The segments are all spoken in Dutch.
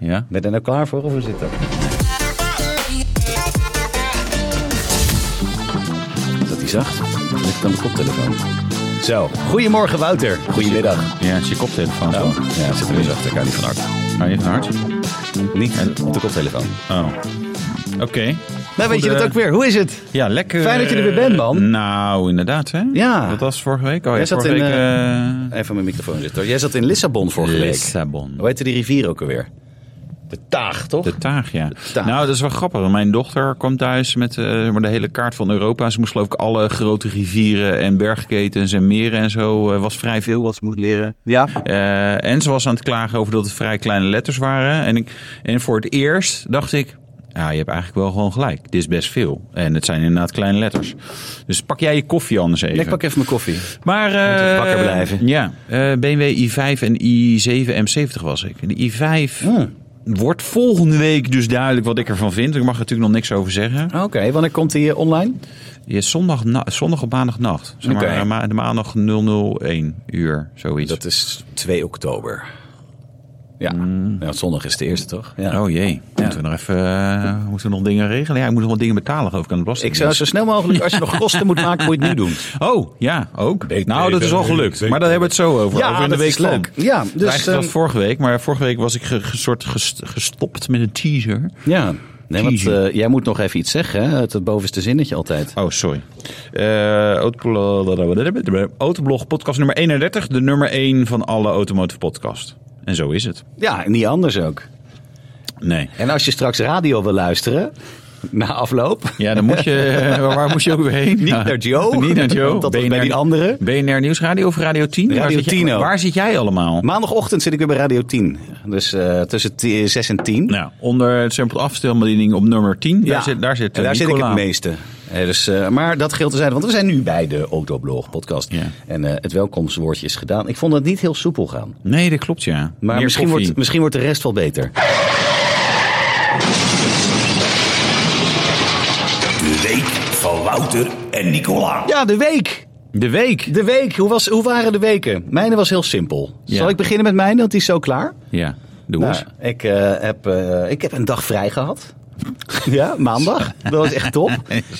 Ja? Ben je er nou klaar voor of hoe zit dat? Is dat die zacht? Ligt aan de koptelefoon. Zo, goedemorgen Wouter. Goedemiddag. Ja, het is je koptelefoon. Oh, toch? ja, zit er weer achter. Kan niet van hard. Maar even hard. Niet op de koptelefoon. Oh. Oké. Nou, weet je Goede- dat ook weer. Hoe is het? Ja, lekker. Fijn dat je er weer bent, man. Eh, Nou, inderdaad, hè? Ja. Dat was vorige week. Oh, ja, Jij zat vorige in, eh, week... Even mijn microfoon zitten. Jij zat in Lissabon eh, vorige week. Lissabon. Hoe heette die rivier ook alweer? De Taag, toch? De Taag, ja. Taag. Nou, dat is wel grappig. want Mijn dochter kwam thuis met eh, maar de hele kaart van Europa. Ze moest geloof ik alle grote rivieren en bergketens en meren en zo. eh, was vrij veel wat ze moest leren. Ja, Eh, en ze was aan het klagen over dat het vrij kleine letters waren. En, ik, en voor het eerst dacht ik... Ja, je hebt eigenlijk wel gewoon gelijk. Dit is best veel. En het zijn inderdaad kleine letters. Dus pak jij je koffie anders even. Ik pak even mijn koffie. Maar Moet eh wakker blijven. Ja, eh, BMW i5 en i7 M70 was ik. En De i5 wordt volgende week dus duidelijk wat ik ervan vind. Ik mag er natuurlijk nog niks over zeggen. Oké, wanneer komt die eh, online? Je is zondag, na- zondag op maandagnacht. Zeg maar, Oké. eh, ma- de maandag 001 uur, zoiets. Dat is 2 oktober. Ja, ja want zondag is de eerste, toch? Ja. Oh jee, moeten we nog even eh, moeten we nog dingen regelen? Ja, ik moet nog wat dingen betalen geloof ik aan de belasting. Ik zou zo snel mogelijk, als je nog kosten moet maken, moet je het nu doen. Oh, ja, ook. Weet- nou, dat is al gelukt. weet- Maar daar hebben we het zo over. over in de week van. Nou, Ja, dus... Eigenlijk ehm, was vorige week, maar vorige week was ik ge- ge- soort gest- gestopt met een teaser. ja, nee, want Teasing. eh, jij moet nog even iets zeggen, hè? Het bovenste zinnetje altijd. Oh, sorry. Eh, Autoblog- Autoblog podcast nummer 31. De nummer 1 van alle automotive podcast. En zo is het. Ja, en niet anders ook. Nee. En als je straks radio wil luisteren, na afloop, Ja, dan moet je... eh, waar moest je ook weer heen? niet Nou, naar Joe. Niet naar Joe. want Dat was bij die andere. BNR Nieuwsradio of Radio 10? Radio waar zit jij- 10 ook. Waar zit jij allemaal? Maandagochtend zit ik weer bij Radio 10. Dus eh, tussen 6 en 10. Nou, onder het simpel afstelbediening op nummer 10. Daar zit, daar zit, En eh, daar zit ik het Nicola. meeste. Eh, dus, eh, maar dat geldt te zijn, want we zijn nu bij de Autoblog podcast. Ja. En eh, het welkomstwoordje is gedaan. Ik vond het niet heel soepel gaan. Nee, dat klopt, ja. Maar Meer misschien koffie. wordt, misschien wordt de rest wel beter. De week van Wouter en Nicola. Ja, de week. De week. De week. Hoe, was, hoe waren de weken? Mijne was heel simpel. Ja. Zal ik beginnen met mijne? Want die is zo klaar. Ja, doe Nou, eens. ik, eh, heb, eh, ik heb een dag vrij gehad. ja, maandag. Dat was echt top.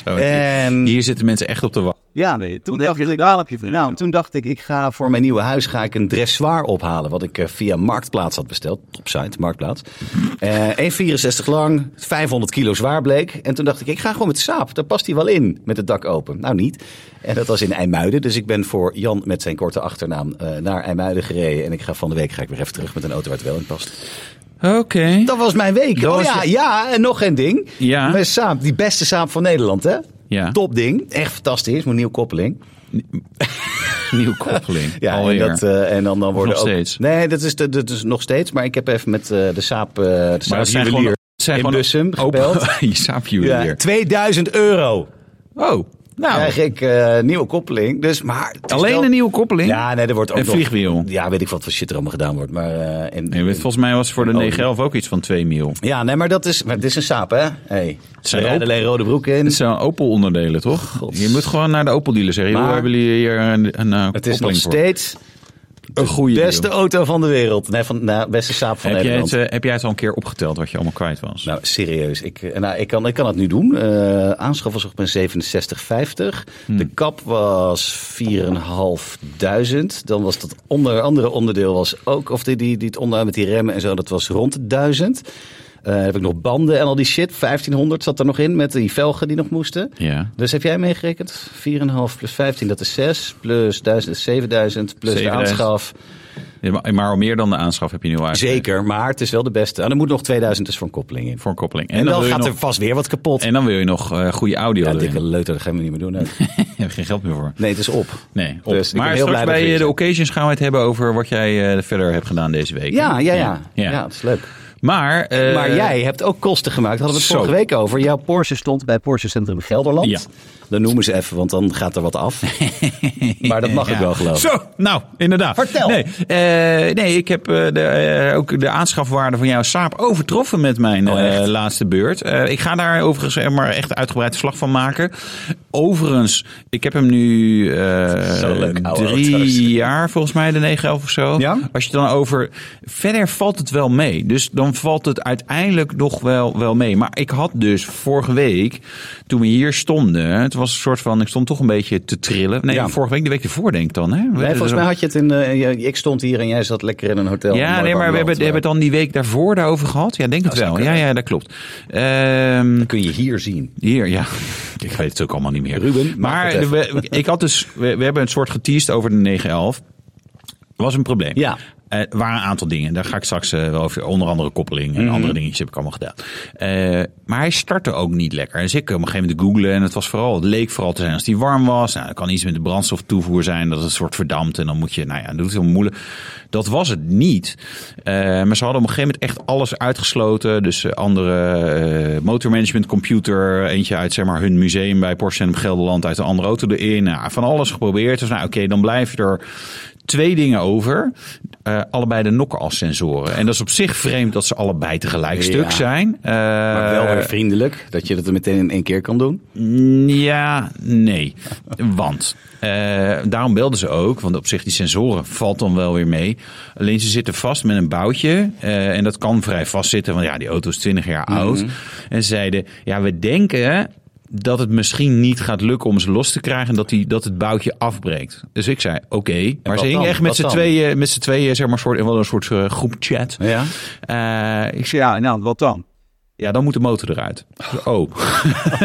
Zo. en Hier zitten mensen echt op te wachten. ja nee. Toen dacht ik, daar heb je van. Nou, toen dacht ik, ik ga voor... voor mijn nieuwe huis ga ik een dressoir ophalen. Wat ik eh, via Marktplaats had besteld. Topsite, Marktplaats. Eh, 1,64 lang, 500 kilo zwaar bleek. En toen dacht ik, ik ga gewoon met Saap. Daar past hij wel in, met het dak open. Nou, niet. En dat was in IJmuiden. Dus ik ben voor Jan met zijn korte achternaam eh, naar IJmuiden gereden. En ik ga van de week ga ik weer even terug met een auto waar het wel in past. Oké. Dat was mijn week. Dat oh was ja, je- ja, en nog een ding. Ja. Met Saap, die beste Saap van Nederland, hè? Ja. Top ding. Echt fantastisch. Mijn nieuwe koppeling. Nieuwe koppeling. Ja, en, Alweer. dat, eh, en dan, dan worden nog ook... steeds? Nee, dat is, de- dat is nog steeds. Maar ik heb even met eh, de Saap, eh, de maar Saap het zijn gewoon, juwelier het zijn in gewoon Bussum open- gebeld. je saapjuwelier. Ja, 2000 euro Oh, nou. krijg ik eh, nieuwe koppeling. Dus, maar het is alleen wel- een nieuwe koppeling? Ja, nee, er wordt ook Een nog- vliegwiel. Ja, weet ik wat voor shit er allemaal gedaan wordt. Maar, eh, en, Nee, weet- volgens mij was het voor de Oh. 911 ook iets van 2 mil. ja, nee, maar dat is, maar dit is een saap, hè? Hey, ze zijn rijden ook- alleen rode broeken in. Het zijn Opel-onderdelen, toch? Je moet gewoon naar de Opel-dealer zeggen. Maar- Maar, hebben jullie hier een, een eh, Het is nog koppeling voor? steeds een goede beste auto van de wereld. Nee, van, nou, beste saap van Heb jij, Nederland. het, eh, heb jij het al een keer opgeteld wat je allemaal kwijt was? Nou, serieus. Ik, eh, nou, ik, kan, ik kan het nu doen. Eh aanschaf was op mijn 67,50. Hmm. De kap was 4.500. Dan was dat onder andere onderdeel was ook... Of die, die, die het onderhoud met die remmen en zo, dat was rond de 1000. Eh, heb ik nog banden en al die shit. 1500 zat er nog in met die velgen die nog moesten. Ja. Dus heb jij meegerekend? 4,5 plus 15, dat is 6. Plus 1000 is 7000. Plus de 7000. aanschaf. Ja, maar- Maar al meer dan de aanschaf heb je nu eigenlijk. Zeker, maar het is wel de beste. En er moet nog 2000 dus voor een koppeling in. Voor een koppeling. En, dan, wil je gaat nog- er vast weer wat kapot. En dan wil je nog eh, goede audio Ja, erin. dikke leuter, dat gaan we niet meer doen. hè. Je hebt geen geld meer voor. Nee, het is op. Nee, op. Dus ik ben maar heel straks blij dat bij jullie eh, de zijn. occasions gaan we het hebben over wat jij eh, verder hebt gedaan deze week. Ja, ja, ja. Ja, ja. dat is leuk. Maar, eh, maar jij hebt ook kosten gemaakt. Hadden we het zo. vorige week over. Jouw Porsche stond bij Porsche Centrum Gelderland. Ja. Dan noemen ze even, want dan gaat er wat af. maar dat mag ik Ja. wel geloven. Zo, nou, inderdaad. Vertel. Nee, eh, nee ik heb eh, de, eh, ook de aanschafwaarde van jouw Saab overtroffen met mijn Oh, echt? eh, laatste beurt. Eh, ik ga daar overigens eh, maar echt uitgebreid verslag van maken. Overigens, ik heb hem nu eh, Zo leuk, oude drie auto's. jaar volgens mij, de 911 of zo. Ja? Als je dan over... Verder valt het wel mee. Dus dan valt het uiteindelijk nog wel, wel mee. Maar ik had dus vorige week, toen we hier stonden... Het was een soort van... Ik stond toch een beetje te trillen. Nee, Ja. vorige week, de week ervoor denk ik dan. Hè? Nee, volgens mij had je het in. eh, je- ik stond hier en jij zat lekker in een hotel. Een Ja, mooi nee, maar warm we hebben, land, hebben het dan die week daarvoor daarover gehad. Ja, denk het wel. Ja, ja, dat klopt. Ehm, kun je hier zien. hier, ja. Ik weet het ook allemaal niet meer. Ruben, maak maar het even. we- ik had dus, we, we hebben een soort geteased over de 911. Was een probleem. Ja. Eh, Er waren een aantal dingen. Daar ga ik straks eh, wel over. Onder andere koppeling en andere dingetjes heb ik allemaal gedaan. Eh, maar hij startte ook niet lekker. Dus ik op een gegeven moment googlen. En het, was vooral, het leek vooral te zijn als die warm was. Nou, dat kan iets met de brandstoftoevoer zijn. Dat het een soort verdampt. En dan moet je, nou ja, dat doet het heel moeilijk. Dat was het niet. Eh, maar ze hadden op een gegeven moment echt alles uitgesloten. Dus eh, andere eh, motormanagement computer. Eentje uit zeg maar, hun museum bij Porsche Centrum Gelderland. Uit een andere auto erin. Nou, van alles geprobeerd. Dus nou, oké, dan blijf je er twee dingen over. Eh, allebei de nokkenassensoren. En dat is op zich vreemd dat ze allebei tegelijk stuk zijn. Eh, Maar wel weer vriendelijk dat je dat er meteen in één keer kan doen. ja, nee. Want eh, daarom belden ze ook, want op zich die sensoren valt dan wel weer mee. Alleen ze zitten vast met een boutje. eh, en dat kan vrij vastzitten, want ja, die auto is 20 jaar oud. Mhm. En ze zeiden, ja, we denken dat het misschien niet gaat lukken om ze los te krijgen en dat, die, dat het boutje afbreekt. Dus ik zei, oké. Maar ze wat hingen dan? echt met Wat z'n dan? tweeën, met z'n tweeën zeg maar, soort, in wel een soort eh, groepchat. Ja. Eh, ik Ik zei, ja, nou, wat dan? ja, dan moet de motor eruit. Oh.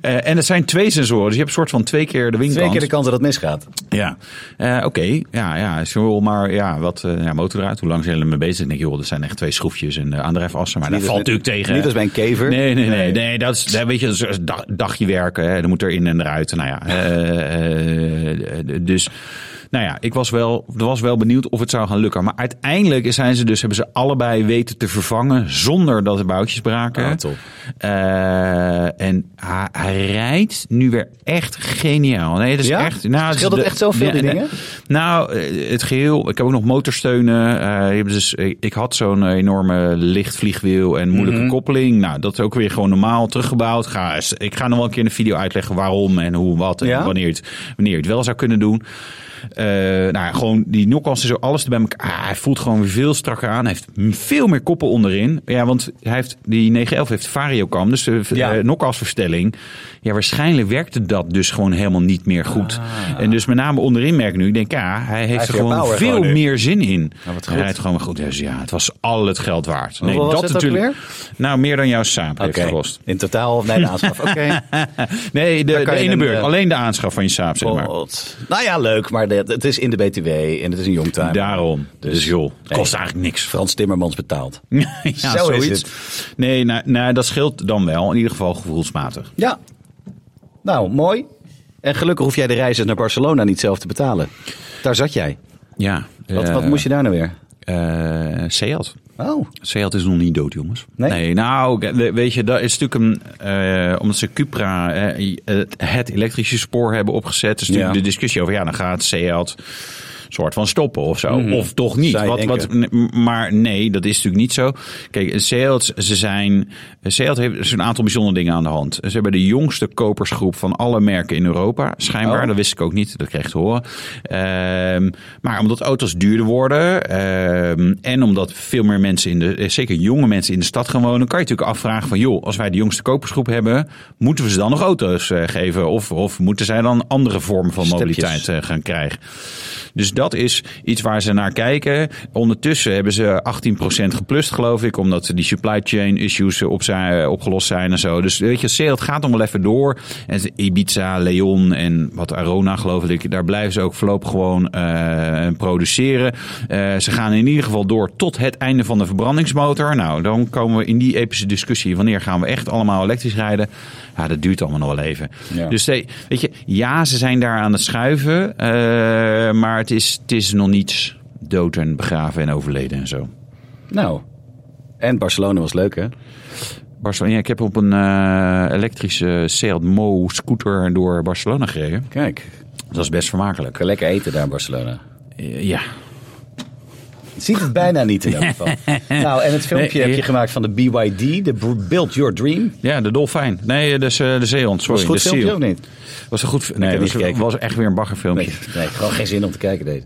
Eh, en het zijn twee sensoren, dus je hebt een soort van twee keer de Twee winkant. keer de kans dat het misgaat. Ja. Eh, Oké, ja, ja, zo, maar ja, wat eh, ja, motor eruit, hoe lang zijn jullie mee bezig? Ik denk, joh, dat zijn echt twee schroefjes en eh, aandrijfassen, maar dat Niet valt als bij- natuurlijk tegen. Niet hè? als bij een kever. Nee, nee, nee. nee dat is, dat, weet je, dat is dag, dagje werken. Hè. Dan moet er in en eruit. Nou ja, eh, eh, dus... Nou ja, ik was wel, was wel benieuwd of het zou gaan lukken. Maar uiteindelijk zijn ze dus, hebben ze allebei weten te vervangen zonder dat de boutjes braken. Ah, top. Eh, en hij, hij rijdt nu weer echt geniaal. Nee, dat is Ja? echt. Nou, Scheelt dat de- echt zoveel, die nee, dingen? nou, eh, het geheel. Ik heb ook nog motorsteunen. Eh, je hebt dus, ik, ik had zo'n enorme licht vliegwiel en moeilijke Mhm. koppeling. Nou, dat is ook weer gewoon normaal teruggebouwd. Ga, eens- ik ga nog wel een keer in een video uitleggen waarom en hoe, wat en Ja? wanneer, het, wanneer je het wel zou kunnen doen. Eh, nou, ja, gewoon die knock en zo, alles er bij elkaar. Ah, hij voelt gewoon weer veel strakker aan. Hij heeft m- veel meer koppen onderin. Ja, want hij heeft, die 911 heeft variocam, dus de Ja. ja. verstelling. Ja, waarschijnlijk werkte dat dus gewoon helemaal niet meer goed. En dus met name onderin merk ik nu, ik denk, ja, hij heeft Ah. heeft er weer gewoon power veel gewoon nu. Nou, meer zin in. wat hij goed. rijdt gewoon weer goed. Dus ja, het was al het geld waard. Nee, was dat het ook natuurlijk. Nou, meer dan jouw saap heeft Oké. gekost. In totaal of nee, de aanschaf. Oké. Nee, de, kan de je ene een, beurt. eh, Alleen de aanschaf van je saap, zeg maar. God. Nou ja, leuk, maar dit- het is in de BTW en het is een youngtimer. Daarom. Dus, joh, het Nee. kost eigenlijk niks. Frans Timmermans betaalt. ja, Zo is zoiets. Nee, nou, nou, dat scheelt dan wel. In ieder geval gevoelsmatig. Ja. Nou, mooi. En gelukkig hoef jij de reizen naar Barcelona niet zelf te betalen. Daar zat jij. Ja. Wat, eh, wat moest je daar nou weer? eh, Seat. Oh, Seat is nog niet dood, jongens. Nee? nou, we- weet je, dat is natuurlijk een... eh, omdat ze Cupra eh, het, het elektrische spoor hebben opgezet... is natuurlijk Ja. de discussie over... ja, dan gaat Seat soort van stoppen of zo. Of toch niet. Zou je Wat, wat, n- maar nee, dat is natuurlijk niet zo. Kijk, eh, Seat, ze zijn... eh, Seat heeft dus een aantal bijzondere dingen aan de hand. Ze hebben de jongste kopersgroep van alle merken in Europa. Schijnbaar, Oh. dat wist ik ook niet. Dat kreeg ik te horen. Ehm, maar omdat auto's duurder worden... ehm, en omdat veel meer mensen, in de, eh, zeker jonge mensen in de stad gaan wonen... kan je natuurlijk afvragen van... joh, als wij de jongste kopersgroep hebben... moeten we ze dan nog auto's eh, geven? Of, of moeten zij dan andere vormen van Stepjes. mobiliteit eh, gaan krijgen? Dus dat is iets waar ze naar kijken. Ondertussen hebben ze 18% geplust, geloof ik, omdat die supply chain issues eh, op zijn, eh, opgelost zijn en zo. Dus weet je, sale, het gaat allemaal even door. En ze- Ibiza, Leon en wat Arona, geloof ik, daar blijven ze ook voorlopig gewoon eh, produceren. Eh, ze gaan in ieder geval door tot het einde van de verbrandingsmotor. Nou, dan komen we in die epische discussie. Wanneer gaan we echt allemaal elektrisch rijden? Ja, dat duurt allemaal nog wel even. Ja. Dus nee, weet je, ja, ze zijn daar aan het schuiven. eh, maar het is, het is nog niet dood en begraven en overleden en zo. nou. En Barcelona was leuk, hè? Barcelona. Ja, ik heb op een eh, elektrische Seat Mo scooter door Barcelona gereden. Kijk, Dat is best vermakelijk. kan lekker eten daar in Barcelona. Eh, Ja. Je ziet het bijna niet in elk geval. nou, en het filmpje Nee, eh, heb je ik- gemaakt van de BYD, de Br- Build Your Dream. ja, de dolfijn. Nee, dus eh, de zeehond. Sorry, Was het goed de filmpje seal. of niet? Was een goed fi- Nee, heb was, niet gekeken. was echt weer een baggerfilmpje. Nee, nee, gewoon geen zin om te kijken deze.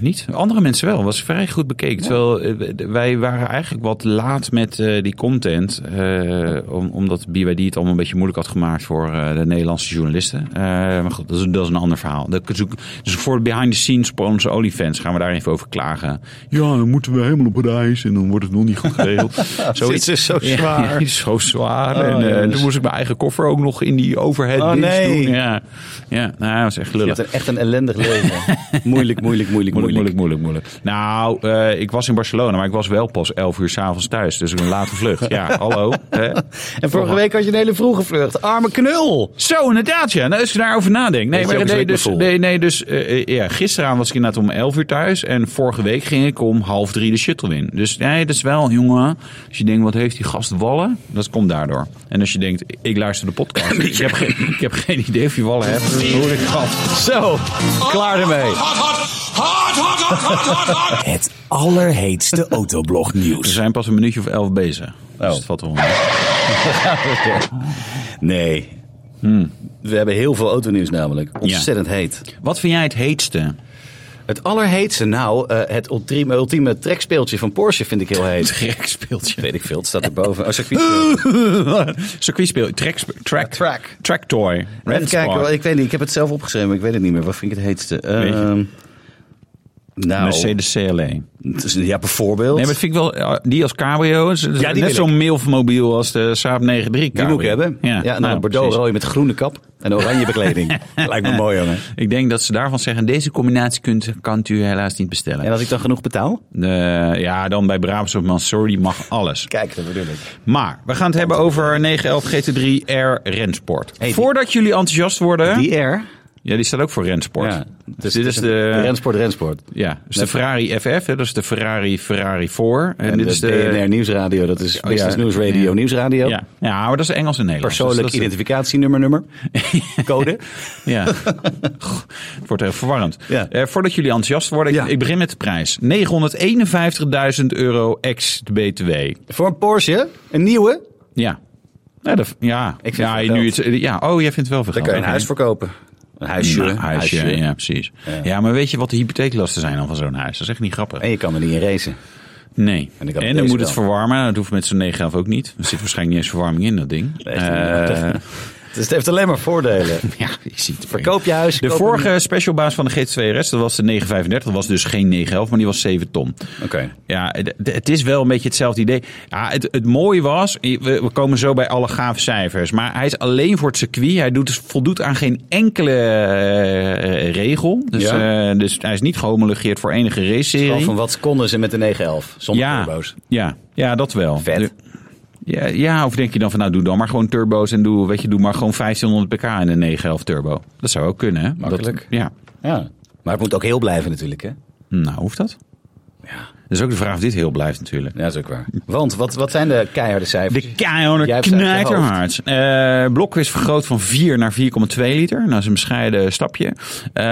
Niet. Andere mensen wel. Was vrij goed bekeken. Terwijl eh, wij waren eigenlijk wat laat met eh, die content. eh, om, omdat BYD het allemaal een beetje moeilijk had gemaakt voor eh, de Nederlandse journalisten. Eh, maar goed, dat is, dat is een ander verhaal. Dat, is ook- dus voor de behind the scenes van onze OnlyFans gaan we daar even over klagen. Ja, dan moeten we helemaal op reis en dan wordt het nog niet goed geregeld. Zoiets is zo Ja, zwaar. het is zo zwaar. Oh, en eh, jongens. toen moest ik mijn eigen koffer ook nog in die overhead Oh, bins nee. doen. Ja, ja nou, dat was echt Je lullig. hebt een- echt een ellendig leven. moeilijk, moeilijk, moeilijk, Moeilijk, moeilijk, moeilijk. moeilijk, moeilijk. Nou, eh, ik was in Barcelona, maar ik was wel pas 11 uur s'avonds thuis. Dus een late vlucht. Ja, hallo. hè? En vorige week had je een hele vroege vlucht. Arme knul! Zo, inderdaad, ja. Nou, als je daarover nadenkt. Nee, Weet je maar ook eens nee, wat ik dus, me voel? nee, nee, dus eh, eh, ja, gisteravond was ik inderdaad om 11 uur thuis. En vorige week ging ik om half drie de shuttle in. Dus nee, dat is wel, jongen. Als je denkt, wat heeft die gast wallen? Dat komt daardoor. En als je denkt, ik luister de podcast. ik, heb geen, ik heb geen idee of je wallen hebt. Dat hoor ik gast. Zo, klaar ermee. Hot, hot, hot, hot, hot, hot, hot, hot. Het allerheetste autoblog We nieuws. zijn pas een minuutje of elf bezig. Dus het valt eronder. Nee. We hebben heel veel autonieuws namelijk. Ontzettend heet. Wat vind jij het heetste? Het allerheetste, nou, eh, het ultieme, ultieme trekspeeltje van Porsche vind ik heel heet. Gek speeltje. Weet ik veel, het staat erboven. Oh, circuit. Circuitspeel, track, track, track. track toy, Even red kijken, wel, Spark. ik weet niet, ik heb het zelf opgeschreven, maar ik weet het niet meer. Wat vind ik het heetste? je. Ehm, nou, Mercedes CLE. Nee, het is- ja, bijvoorbeeld. maar dat vind ik wel, eh, die als cabrio, is is Ja, die net wil zo'n milfmobiel als de Saab 93 die cabrio. moet ik hebben. Ja, nou, nou, Bordeaux precies. rooi met groene kap en oranje bekleding. Lijkt me mooi, jongen. Ik denk dat ze daarvan zeggen, deze combinatie kunt, kan u helaas niet bestellen. En als ik dan genoeg betaal? Eh, ja, dan bij Brabants of Mansouri mag alles. Kijk, dat bedoel ik. Maar we gaan het hebben over 911 GT3 R Rensport. die- Voordat jullie enthousiast worden... Die R? ja, die staat ook voor Rensport. Ja. dus dit is de... Rensport, Rensport. Ja, dus de Ferrari FF, hè, dat is de Ferrari Ferrari 4. En, En dit dus de is de Oh, BNR Nieuwsradio, dat is Business ja. News Radio, Ja. Nieuwsradio. Ja. ja, maar dat is Engels en Nederlands. Persoonlijk Dus dat is- identificatienummer, nummer. Code. Ja. Goh, Het wordt heel verwarrend. Ja. Eh, voordat jullie enthousiast worden, ik, Ja. ik begin met de prijs. 951.000 euro ex de BTW. Voor een Porsche, een nieuwe. Ja. Ja, dat, ja. vind ja, het nu wel het, ja, oh, jij vindt het wel veel Daar geld. kan je een Oké. huis voor kopen. Een huisje. Nou, huisje, ja, precies. Ja. maar weet je wat de hypotheeklasten zijn dan van zo'n huis? Dat is echt niet grappig. En je kan er niet in racen. Nee. En En, ik had dan deze moet het wel. verwarmen. Dat hoeft met zo'n 911 ook niet. Er zit waarschijnlijk niet eens verwarming in, dat ding. Eh, Dus het heeft alleen maar voordelen. ja, ik zie het. Verkoop je huis. De koop vorige specialbaas van de GT2 RS, dat was de 935. Dat was dus geen 911, maar die was 7 ton. een- Oké. Ja, het- het is wel een beetje hetzelfde idee. Ja, het, het mooie was, we, we komen zo bij alle gave cijfers. Maar hij is alleen voor het circuit. Hij doet, dus, voldoet aan geen enkele eh, regel. Dus, Ja. eh, dus hij is niet gehomologeerd voor enige Gewoon race-serie. van wat konden ze met de 911 zonder Ja, turbo's. ja, ja, dat wel. Vet. De- Ja, ja, of denk je dan van nou doe dan maar gewoon turbo's en doe, weet je, doe maar gewoon 1500 pk en een 911 turbo. Dat zou ook kunnen. hè? Dat- Makkelijk. ja. Ja. Maar het moet ook heel blijven natuurlijk, hè? Nou, hoeft dat? Ja. Dat is ook de vraag of dit heel blijft natuurlijk. Ja, dat is ook waar. Want wat, wat zijn de keiharde cijfers? De keiharde Jij hebt ze uit je knijterhard. Eh blok is vergroot van 4 naar 4,2 liter. Nou, dat is een bescheiden stapje. Eh,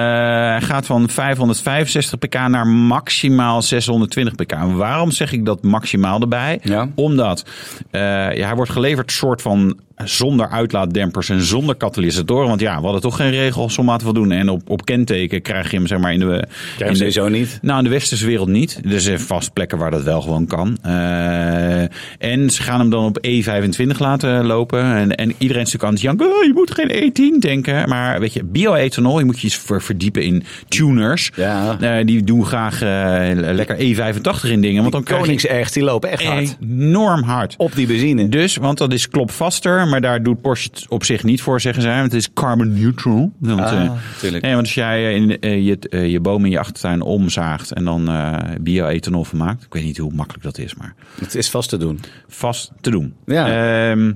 Hij gaat van 565 pk naar maximaal 620 pk. En waarom zeg ik dat maximaal erbij? Ja. Omdat eh, ja, hij wordt geleverd soort van zonder uitlaatdempers en zonder katalysatoren. Want ja, we hadden toch geen regels om laten voldoen. En op, op kenteken krijg je hem zeg maar in de... je in de- sowieso niet. nou, in de westerse wereld niet. Er zijn vast plekken waar dat wel gewoon kan. Eh, en ze gaan hem dan op E25 laten lopen. En, en iedereen is natuurlijk aan het janken. "Oh, je moet geen E10 denken. Maar weet je, bioethanol, je moet je eens ver- verdiepen in tuners. Ja. Eh, die doen graag eh, lekker E85 in dingen. Want dan krijg je Koningserts, die lopen echt hard. enorm hard. Op die benzine. Dus, want dat is klopvaster, maar daar doet Porsche het op zich niet voor, zeggen zij. Want het is carbon neutral. Want, Ah, eh, tuurlijk. nee, want als jij eh, in, eh, je, eh, je boom in je achtertuin omzaagt en dan eh bio-ethanol van maakt. Ik weet niet hoe makkelijk dat is, maar Het is vast te doen. vast te doen. Ja. Ehm,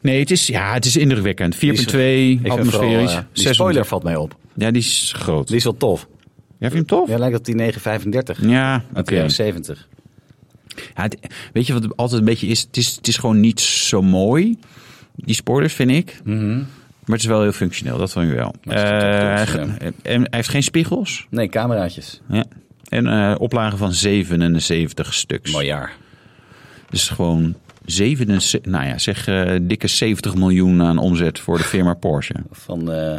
nee, het is, ja, het is indrukwekkend. 4,2 Ik vind atmosferisch. vooral, eh, die 600. spoiler valt mij op. Ja, die is groot. Die is wel tof. Ja, vind je hem tof? Ja, lijkt op die 935. Ja, oké. Oké. 70. Ja, het- weet je wat het altijd een beetje is? Het is, het is gewoon niet zo mooi, die spoilers vind ik. Maar het is wel heel functioneel, dat vind ik wel. Mhm. het is toch Eh, hij, functioneel. en hij heeft geen spiegels. Nee, cameraatjes. Ja. En eh oplagen van 77 stuks. Mooi jaar. Dus gewoon 77, nou ja, zeg eh, dikke 70 miljoen aan omzet voor de firma Porsche. Van eh,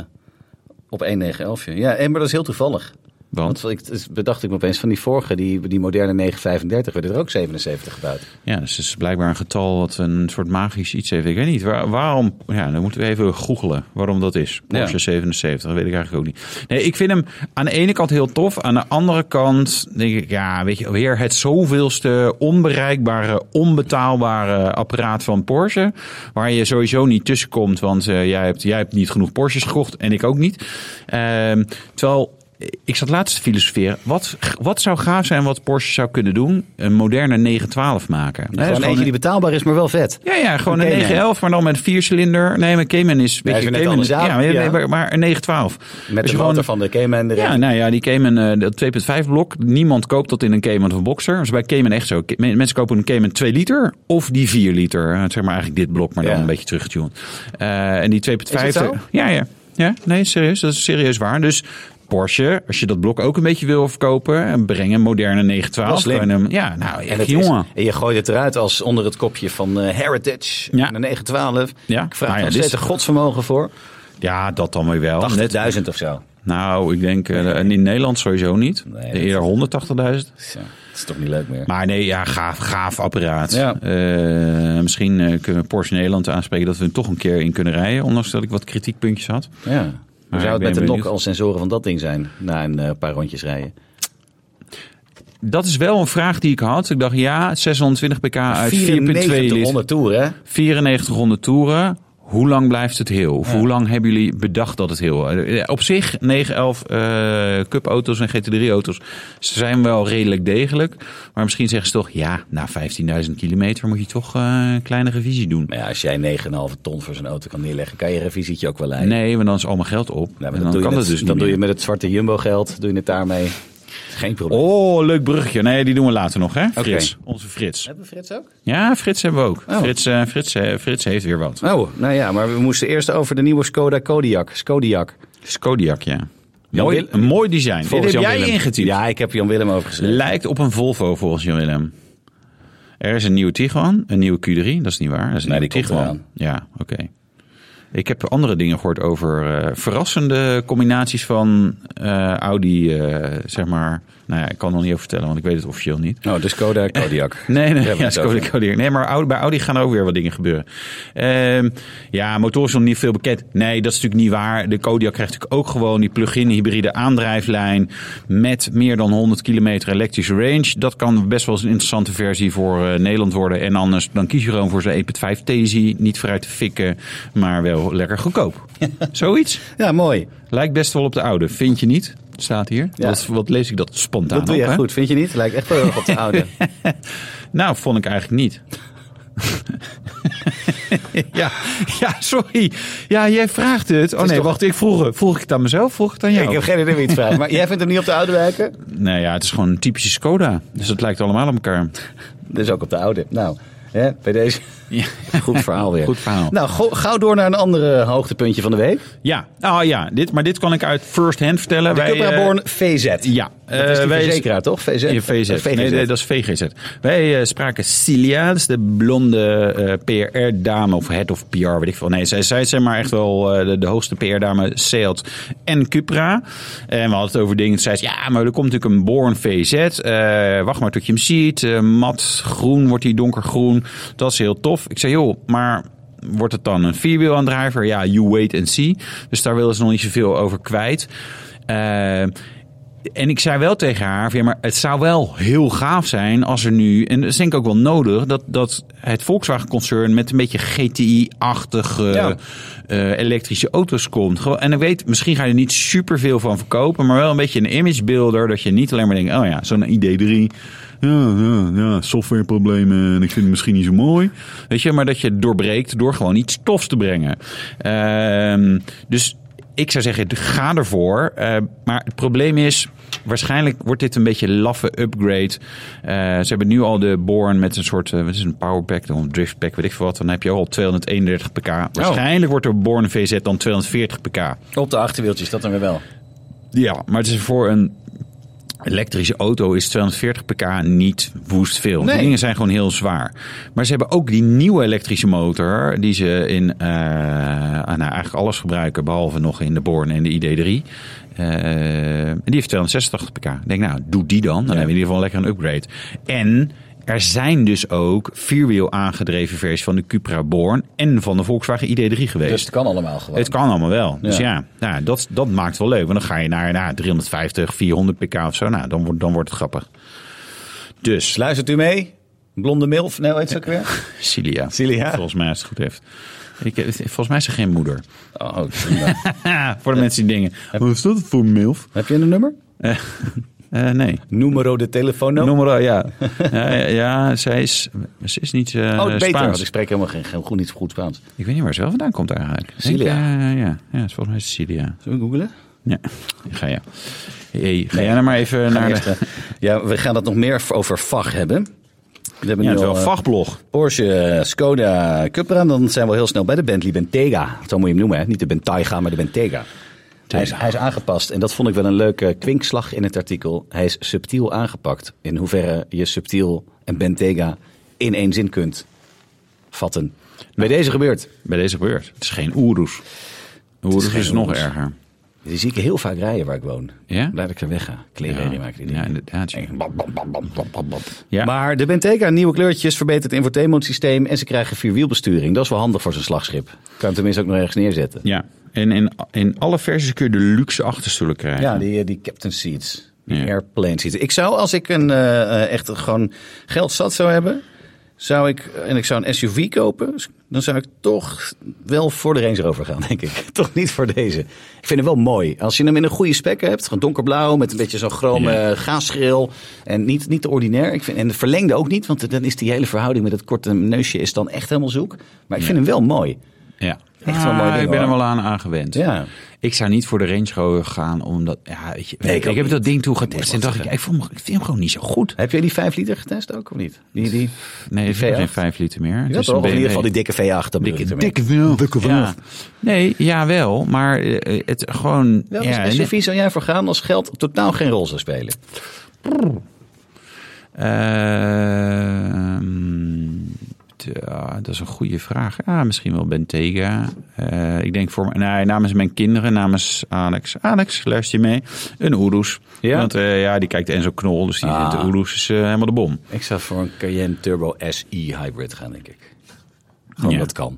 op 1911. Ja, en, maar dat is heel toevallig. Want Want ik, dus bedacht ik me opeens van die vorige, die, die moderne 935, werden er ook 77 gebouwd. ja, dus het is blijkbaar een getal wat een soort magisch iets heeft. Ik weet niet waar- waarom. Ja, dan moeten we even googelen waarom dat is. Porsche Ja. 77, dat weet ik eigenlijk ook niet. Nee, ik vind hem aan de ene kant heel tof. Aan de andere kant denk ik, ja, weet je, weer het zoveelste onbereikbare, onbetaalbare apparaat van Porsche. Waar je sowieso niet tussenkomt, want eh, jij, hebt, jij hebt niet genoeg Porsches gekocht en ik ook niet. Ehm, terwijl eh, ik zat laatst te filosoferen. Wat, wat zou gaaf zijn wat Porsche zou kunnen doen? Een moderne 912 maken. Hè, Gewoon dus eentje die betaalbaar is, maar wel vet. ja, ja, gewoon een Cayman. 911, maar dan met vier cilinder. Nee, maar Cayman is... Ja, is weer net Cayman anders aan. ja, maar- Ja. maar- maar een 912. Dus Met de gewoon- motor van de Cayman erin. Ja, nou ja, die Cayman, eh, dat 2.5 blok. Niemand koopt dat in een Cayman of een Boxer. Dat is bij Cayman echt zo. Ke- men- Mensen kopen een Cayman 2 liter of die 4 liter. Eh, Zeg maar eigenlijk dit blok, maar dan Ja. een beetje teruggetuned. Eh, en die 2.5... Is dat zo? Ja, ja. Ja, nee, serieus. Dat is serieus waar. Dus... Porsche, als je dat blok ook een beetje wil verkopen, en breng een moderne 912. Wel slim. Gewoon een- Ja, nou, En, echt, het jongen. is, en je gooit het eruit als onder het kopje van eh, Heritage Ja. en de 912. Ja. Ik vraag Nou ja, nog dit is- steeds een godsvermogen voor. Ja, dat dan weer wel. Net- 80.000 of zo. Nou, ik denk eh, in Nederland sowieso niet. Nee, Eerder 180.000. Zo, Dat is toch niet leuk meer. Maar nee, ja, gaaf, gaaf apparaat. Ja. Eh, misschien eh, kunnen we Porsche Nederland aanspreken dat we hem toch een keer in kunnen rijden. Ondanks dat ik wat kritiekpuntjes had. ja. Hoe Maar zou ik het ben met de benieuwd. nok als sensoren van dat ding zijn na een eh, paar rondjes rijden? Dat is wel een vraag die ik had. Ik dacht, ja, 620 pk uit 4.2 liter. 9400 toer, hè? 9400 toeren. Hoe lang blijft het heel? Of hoe lang hebben jullie bedacht dat het heel? eh, Op zich, 911 eh Cup-auto's en GT3-auto's ze zijn wel redelijk degelijk. Maar misschien zeggen ze toch, ja, na 15.000 kilometer moet je toch eh, een kleine revisie doen. Maar ja, als jij 9,5 ton voor zo'n auto kan neerleggen, kan je revisietje ook wel leiden. Nee, want dan is al mijn geld op. Nou, en maar dan dat doe je kan met- dat dus Dan niet doe je meer. met het zwarte jumbo geld, doe je het daarmee. Geen probleem. Oh, leuk bruggetje. Nee, die doen we later nog, hè? Frits, onze Frits. Hebben we Frits ook? Ja, Frits hebben we ook. Oh. Frits, eh, Frits, eh, Frits heeft weer wat. Oh, nou ja, maar we moesten eerst over de nieuwe Skoda Kodiak. Skodiak. Kodiak, ja. Mooi, Willem- een mooi design. Dit heb jij Jan-Willem. ingetypt. Ja, ik heb Jan Willem overgeschreven. Lijkt op een Volvo volgens Jan Willem. Er is een nieuwe Tiguan, een nieuwe Q3. Dat is niet waar. Dat is een Nee, nieuwe die komt Tiguan. Ja, oké. Ik heb andere dingen gehoord over eh, verrassende combinaties van eh, Audi, eh, zeg maar. Nou ja, ik kan het nog niet over vertellen, want ik weet het officieel niet. Oh, de Skoda Kodiak. Nee, nee, Daar ja, hebben we het Skoda over. Kodiaq. Nee, maar Audi- bij Audi gaan er ook weer wat dingen gebeuren. Ehm, ja, motor is nog niet veel bekend. Nee, dat is natuurlijk niet waar. De Kodiaq krijgt natuurlijk ook gewoon die plug-in hybride aandrijflijn met meer dan 100 kilometer elektrische range. Dat kan best wel eens een interessante versie voor eh, Nederland worden. En anders dan kies je gewoon voor E zijn 1.5 Tesi. Niet vooruit te fikken, maar wel lekker goedkoop. Zoiets. Ja, mooi. Lijkt best wel op de oude. Vind je niet? Staat hier. Ja. Wat, wat lees ik dat spontaan Dat doe Nou, op, je hè? goed, vind je niet? Lijkt echt wel heel erg op de oude. Nou, vond ik eigenlijk niet. ja, ja, sorry. Ja, jij vraagt het. Oh is nee, toch- wacht, ik vroeg, het. vroeg ik het aan mezelf, vroeg ik het aan jou. Ik heb geen idee wie het vraagt. Maar jij vindt hem niet op de oude wijken? Nee, ja, het is gewoon een typische Skoda. Dus dat lijkt allemaal op elkaar. Dus ook op de oude. Nou, hè, bij deze. Ja. Goed verhaal weer. Goed verhaal. Nou, go- gauw door naar een andere hoogtepuntje van de week. Ja, oh, ja dit, maar dit kan ik uit first hand vertellen. De Wij, eh, Cupraborn VZ. ja, Dat is eh, die wij- verzekeraar, toch? Eh, VZ. Ja, VZ. Of VGZ. Nee, nee, dat is VGZ. Wij eh, spraken Cilia, dat is de blonde PR-dame of head of PR, weet ik veel. Nee, zij, zij is zeg maar echt wel eh, de, de hoogste PR-dame, Seat en Cupra. En we hadden het over dingen. Zij zei, ja, maar er komt natuurlijk een Born VZ. Eh, wacht maar tot je hem ziet. Eh, mat groen wordt hij donkergroen. Dat is heel tof. Ik zei, joh, maar wordt het dan een vierwielaandrijver? Ja, you wait and see. Dus daar willen ze nog niet zoveel over kwijt. Eh, en ik zei wel tegen haar, van, ja, maar het zou wel heel gaaf zijn als er nu, en dat is denk ik ook wel nodig, dat, dat het Volkswagen-concern met een beetje GTI-achtige Ja. eh, elektrische auto's komt. Gewoon- En ik weet, misschien ga je er niet superveel van verkopen, maar wel een beetje een imagebuilder, dat je niet alleen maar denkt, oh ja, zo'n ID3, ja, ja, ja, softwareproblemen en ik vind het misschien niet zo mooi. Weet je, maar dat je het doorbreekt door gewoon iets tofs te brengen. Ehm, dus ik zou zeggen, ga ervoor. Eh, maar het probleem is, waarschijnlijk wordt dit een beetje laffe upgrade. Eh, ze hebben nu al de Born met een soort, eh, wat is het, een powerpack of een driftpack, weet ik veel wat. Dan heb je al op 231 pk. Waarschijnlijk wordt de Born VZ dan 240 pk. Op de achterwieltjes, dat dan weer wel. Ja, maar het is voor een elektrische auto is 240 pk niet woest veel. Nee. Die dingen zijn gewoon heel zwaar. Maar ze hebben ook die nieuwe elektrische motor die ze in eh, ah, nou, eigenlijk alles gebruiken behalve nog in de Born en de ID3. Eh, en die heeft 286 pk. Ik denk nou, doe die dan. Dan hebben we in ieder geval lekker een upgrade. En er zijn dus ook vierwiel aangedreven versies van de Cupra Born en van de Volkswagen ID3 geweest. Dus het kan allemaal gewoon. Het kan allemaal wel. Dus Ja. ja, nou, dat, dat maakt wel leuk. Want dan ga je naar nou, 350, 400 pk of zo. Nou, dan, wordt- dan wordt het grappig. Dus, Luistert u mee? Blonde milf, nee, hoe heet ze ook weer? Cilia. Cilia. Volgens mij, als het goed heeft. Ik, eh, volgens mij is ze geen moeder. Oh, prima. Ha, voor de mensen die dingen. Hoe is dat voor milf? Heb je een nummer? Eh, nee. Numero de telefoonnummer? Noem maar al, ja. ja, ja, ja, zij is, ze is niet eh Oh, beter, want Spaans. ik Ik... spreek helemaal geen, geen goed, niet goed Spaans. Zullen weet niet waar ze wel vandaan komt eigenlijk. Ik denk, Cilia. eh, ja, ja, is volgens mij is Cilia. we googelen? Ja, ga je. Hey, ga jij nou maar even naar de... ja, we gaan het nog meer over VAG hebben. We hebben Ja, het nu is al, wel een eh, vachtblog. Porsche, eh, Skoda, Cupra. En dan zijn we al heel snel bij de Bentley Bentega. Zo moet je hem noemen, hè? Niet de Bentayga, maar de Bentega. Hij is, hij is aangepast. En dat vond ik wel een leuke kwinkslag in het artikel. Hij is subtiel aangepakt. In hoeverre je subtiel en Bentega in één zin kunt vatten. Bij deze gebeurt. Bij deze gebeurt. Het is geen Oeroes. Oeroes geen is, nog Oeroes. erger. Die zie ik heel vaak rijden waar ik woon. Ja? Laat ik ze wegga. Kleren Ja. maken die Ja, dingen. inderdaad, ja. En bam, bam, bam, bam, bam, bam, bam. Ja. Maar de Bentayga, nieuwe kleurtjes, verbeterd infotainment systeem en ze krijgen vierwielbesturing. Dat is wel handig voor zo'n slagschip. Kan hem tenminste ook nog ergens neerzetten. Ja. En in, in alle versies kun je de luxe achterstoelen krijgen. Ja, die, eh, die captain seats. Die Ja. airplane seats. Ik zou, als ik een, eh, eh, echt gewoon geld zat zou hebben, zou ik, eh, en ik zou een SUV kopen, dan zou ik toch wel voor de Range Rover gaan, denk ik. toch niet voor deze. Ik vind hem wel mooi. Als je hem in een goede spec hebt, gewoon donkerblauw, met een beetje zo'n chrome Ja. eh, gaasgril. En niet, niet te ordinair. Ik vind, en de verlengde ook niet, want dan is die hele verhouding met dat korte neusje is dan echt helemaal zoek. Maar ik vind hem wel mooi. Ja. Echt wel een mooi Ah, ding, ik ben er hoor. wel aan aangewend. Ja. Ik zou niet voor de Range Rover gaan, omdat... Ja, weet je, Nee, ik ik, ook heb niet. dat ding toen getest en dacht ik, zeggen. ik, vond, hem- ik vind hem gewoon niet zo goed. Heb jij die 5 liter getest ook, of niet? Die, die, Nee, ik heb V8? geen 5 liter meer. Het Ja, is een toch? Of in ieder BMW. geval die dikke V8. Dan bedoel ik ermee. wil. Ja. Nee, jawel, maar eh, het gewoon... Ja, ja, als SUV zou jij voor gaan als geld totaal geen rol zou spelen. Ehm, tja, dat is een goede vraag. Ja, misschien wel Bentega. Eh, ik denk voor nee, namens mijn kinderen, namens Alex. Alex, luister je mee? Een Oeroes. Ja? Want eh, ja, die kijkt Enzo Knol, dus die Ah. vindt de Oeroes is, eh, helemaal de bom. Ik zou voor een Cayenne Turbo SI Hybrid gaan, denk ik. Gewoon Ja. dat kan.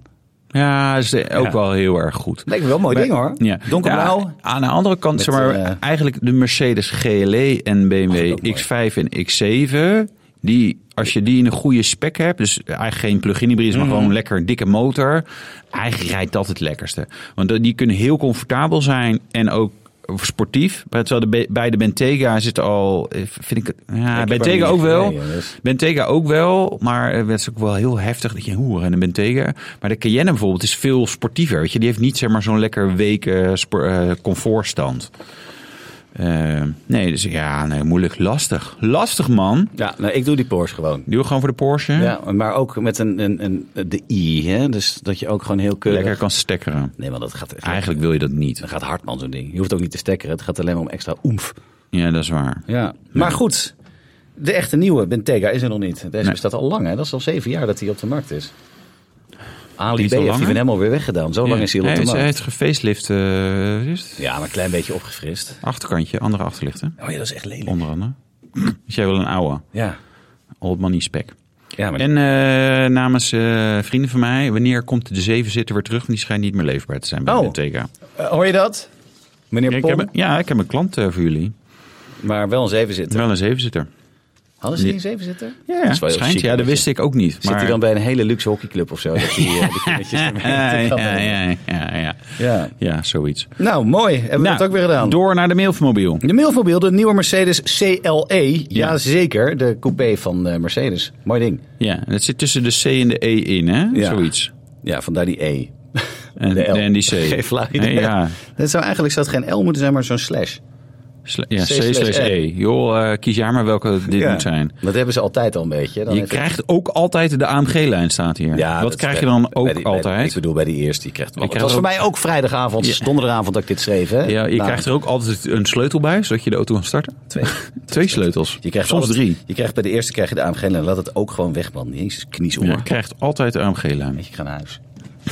Ja, is eh, ook wel heel erg goed. Lijkt me wel een mooi ding hoor. Ja. Donkerblauw. Ja, aan de andere kant, Met, zeg maar, eh, eigenlijk de Mercedes GLE en BMW ook mooi. X5 en X7. Die, als je die in een goede spec hebt, dus eigenlijk geen plug-in hybride, Mhm. maar gewoon lekker een dikke motor. Eigenlijk rijdt dat het lekkerste. Want die kunnen heel comfortabel zijn en ook sportief. Maar Terwijl de, bij de Bentega zit al, eh, vind ik het, ja, heb Bentega hem ook niet wel. gereden, dus. Bentega ook wel, maar eh, het is ook wel heel heftig dat je hoer en een Bentega. Maar de Cayenne bijvoorbeeld is veel sportiever. Weet je? Die heeft niet zeg maar, zo'n lekker week eh, spo- eh, comfortstand. Eh, nee, dus ja, nee, moeilijk. Lastig. Lastig, man. Ja, nou, ik doe die Porsche gewoon. Die wil gewoon voor de Porsche. Ja, maar ook met een, een, een de i, hè? dus dat je ook gewoon heel keurig. Lekker kan stekkeren. Nee, want dat gaat Eigenlijk wil je dat niet. Dan gaat hard man zo'n ding. Je hoeft ook niet te stekkeren. Het gaat alleen maar om extra oemf. Ja, dat is waar. Ja. Maar goed, de echte nieuwe Bentega is er nog niet. Deze Nee. bestaat al lang, hè? Dat is al zeven jaar dat hij op de markt is. Die Ali is B al heeft die langer? van hem alweer weggedaan. Zo lang is hij al op de is, markt. hij heeft gefacelift. eh, wat is het? Ja, maar een klein beetje opgefrist. Achterkantje, andere achterlichten. Oh ja, dat is echt lelijk. Onder andere. Dus jij wil een oude. Ja. Old money spec. Ja, maar En eh, namens eh, vrienden van mij, wanneer komt de zeven zitten weer terug? Want die schijnt niet meer leefbaar te zijn bij Oh. de TK. Eh, hoor je dat? Meneer Ik Pom, heb, een- ja, ik heb een klant eh, voor jullie. maar wel een zevenzitter. Wel een zevenzitter. Hadden ze niet een zevenzitter? Ja, Dat ja. is wel heel schijnt. chic, Ja, dat mensen. wist ik ook niet. Zit maar... hij dan bij een hele luxe hockeyclub of zo? Dat die, eh, die kindertjes ermee te Ja, ja, kabbelen? ja, ja, ja. Ja. Ja, zoiets. Nou, mooi. Hebben we Nou, dat ook weer gedaan. Door naar de mailmobiel. De mailmobiel, de nieuwe Mercedes CLE. Jazeker, de coupé van eh, Mercedes. Mooi ding. Ja, en het zit tussen de C en de E in, hè? Ja. Zoiets. Ja, vandaar die E. En De L. de NDC. Geen flauw idee. Nee, ja. Dat zou eigenlijk zou het geen L moeten zijn, maar zo'n slash. Sla- ja, C C slash slash E. E. Joh, eh, kies jij maar welke dit moet zijn. Dat hebben ze altijd al een beetje. Dan Je heeft het- krijgt ook altijd de AMG-lijn staat hier. Ja, dat is krijg je bij- dan bij ook die- bij- Ik altijd. bedoel, bij die eerste. Die krijgt, het krijg was ook- voor mij ook vrijdagavond, donderdagavond dat ik dit schreef. Hè? Ja, je Nou, krijgt er ook altijd een sleutel bij, zodat je de auto kan starten. twee. Twee sleutels. Je krijgt Soms altijd- drie. Je krijgt bij de eerste krijg je de AMG en laat het ook gewoon weg, man. Jezus, kniezoor. Ja, je krijgt altijd de AMG-lijn. Ik ga naar huis.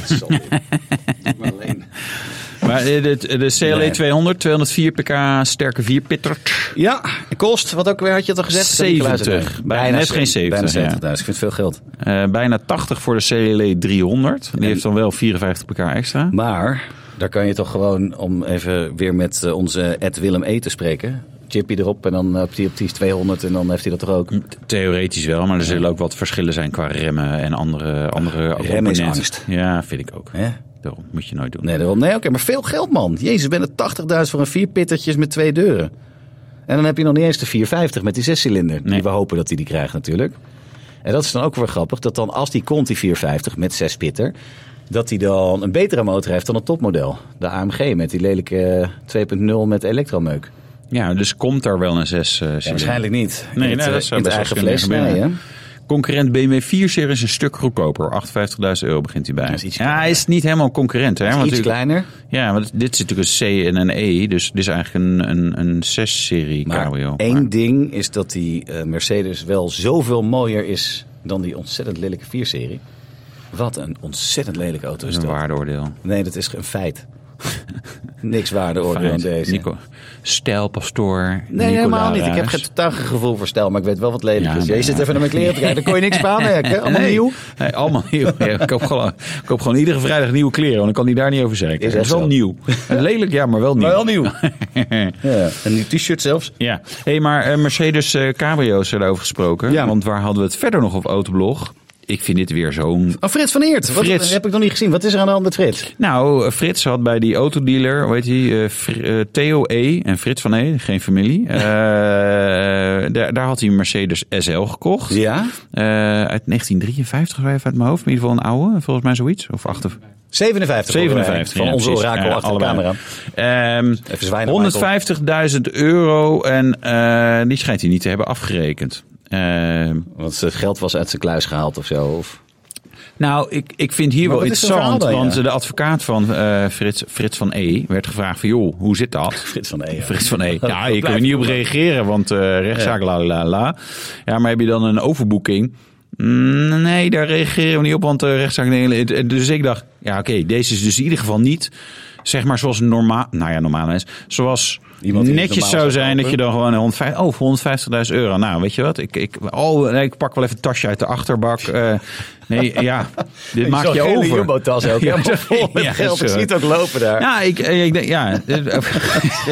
Sorry. Doe maar alleen. Maar eh, de, de CLE Nee. 200, 204 pk, sterke vierpitter. Ja, kost, wat ook weer had je het al gezegd? 70. Bijna net geen 70, Bijna ja. 70.000, ik vind het veel geld. Eh, bijna 80 voor de CLE 300. Die heeft dan wel 54 pk extra. Maar daar kan je toch gewoon, om even weer met eh, onze Ed Willem E te spreken. Chippy erop en dan eh, op die, op die 200 en dan heeft hij dat toch ook. Theoretisch wel, maar er zullen ook wat verschillen zijn qua remmen en andere andere is componenten. angst. Ja, vind ik ook. Hè? Daarom moet je nooit doen. Nee, daarom- nee oké, maar veel geld man. Jezus, ben het 80.000 voor een vier pittertjes met twee deuren. En dan heb je nog niet eens de 450 met die zescilinder. Die Nee. we hopen dat hij die krijgt natuurlijk. En dat is dan ook weer grappig, dat dan als die komt, die 450 met zes pitter... dat hij dan een betere motor heeft dan het topmodel. De AMG met die lelijke eh, 2.0 met elektromeuk. Ja, dus komt daar wel een 6 eh Ja, cilinder. waarschijnlijk niet. Nee, in nee, dat het, eh, zou in best het eigen wel kunnen vlees. Nee, hè? gebeuren. Concurrent BMW 4-serie is een stuk goedkoper. 58.000 euro begint hij bij. is iets ja, hij is niet helemaal een concurrent. Hè? Iets u- kleiner. Ja, want dit zit natuurlijk een C en een E. Dus dit is eigenlijk een, een, een 6-serie Maar cabrio. één ding is dat die eh, Mercedes wel zoveel mooier is dan die ontzettend lelijke 4-serie. Wat een ontzettend lelijke auto dat is is een dat. waardeoordeel. Nee, dat is een feit. Niks waardeoordeel aan Fijn. deze. Nico, stijlpastoor. Nee, Nico helemaal niet. Lara. Ik heb geen totaal geen gevoel voor stijl, maar ik weet wel wat lelijk Ja, is. maar- Je zit even naar mijn kleren te kijken, daar kon je niks van aanmerken. Allemaal Nee. nieuw. Nee, allemaal nieuw. Ja, ik, koop gewoon, ik koop gewoon iedere vrijdag nieuwe kleren, want dan kan hij daar niet over zeggen. Is echt Het is wel zo. nieuw. Lelijk, ja, maar wel nieuw. Maar wel nieuw. Ja. Een nieuw t-shirt zelfs. Ja, hey, maar eh, Mercedes eh cabrio's erover gesproken. Ja. Want waar hadden we het verder nog op Autoblog? Ik vind dit weer zo'n... Oh, Frits van Eert. Wat Frits. heb ik nog niet gezien. Wat is er aan de hand met Frits? Nou, eh, Frits had bij die autodealer, hoe heet die, eh, Fr- eh, Theo E. en Frits van E, geen familie. Eh, daar, daar had hij een Mercedes SL gekocht. Ja? Eh, uit 1953, zo even uit mijn hoofd. In ieder geval een oude, volgens mij zoiets. Of achter, 57. horen wij. 57. Van ja, onze precies. orakel Ja, achter allebei. de camera. Ehm, Even zwijnen, 150.000 euro en eh, die schijnt hij niet te hebben afgerekend. Ehm, Want het geld was uit zijn kluis gehaald of zo. Of... nou, ik, ik vind hier Maar wel wat is er voor interessant, verhaal dan, want ja? de advocaat van eh, Frits, Frits van E. werd gevraagd van, joh, hoe zit dat? Frits van E. Frits van E. Ja, je blijft kan er niet op reageren, want eh, rechtszaak, la la la. Ja, maar heb je dan een overboeking? Mm, Nee, daar reageren we niet op, want de rechtszaak... nee, nee, het- Dus ik dacht, ja oké, deze is dus in ieder geval niet... zeg maar zoals normaal... Nou ja, normaal is. Zoals Iemand die het netjes normaal zou zou zijn dat kopen. je dan gewoon... 150, oh, voor 150.000 euro. Nou, weet je wat? Ik, ik, oh, nee, ik pak wel even een tasje uit de achterbak. Eh, nee, ja, dit maak je Zo'n gele over. Jumbo-tas ook. Ja, Helemaal vol met ja, geld. Ik zo. zie het ook lopen daar. Ja, ik, eh, ik denk, ja.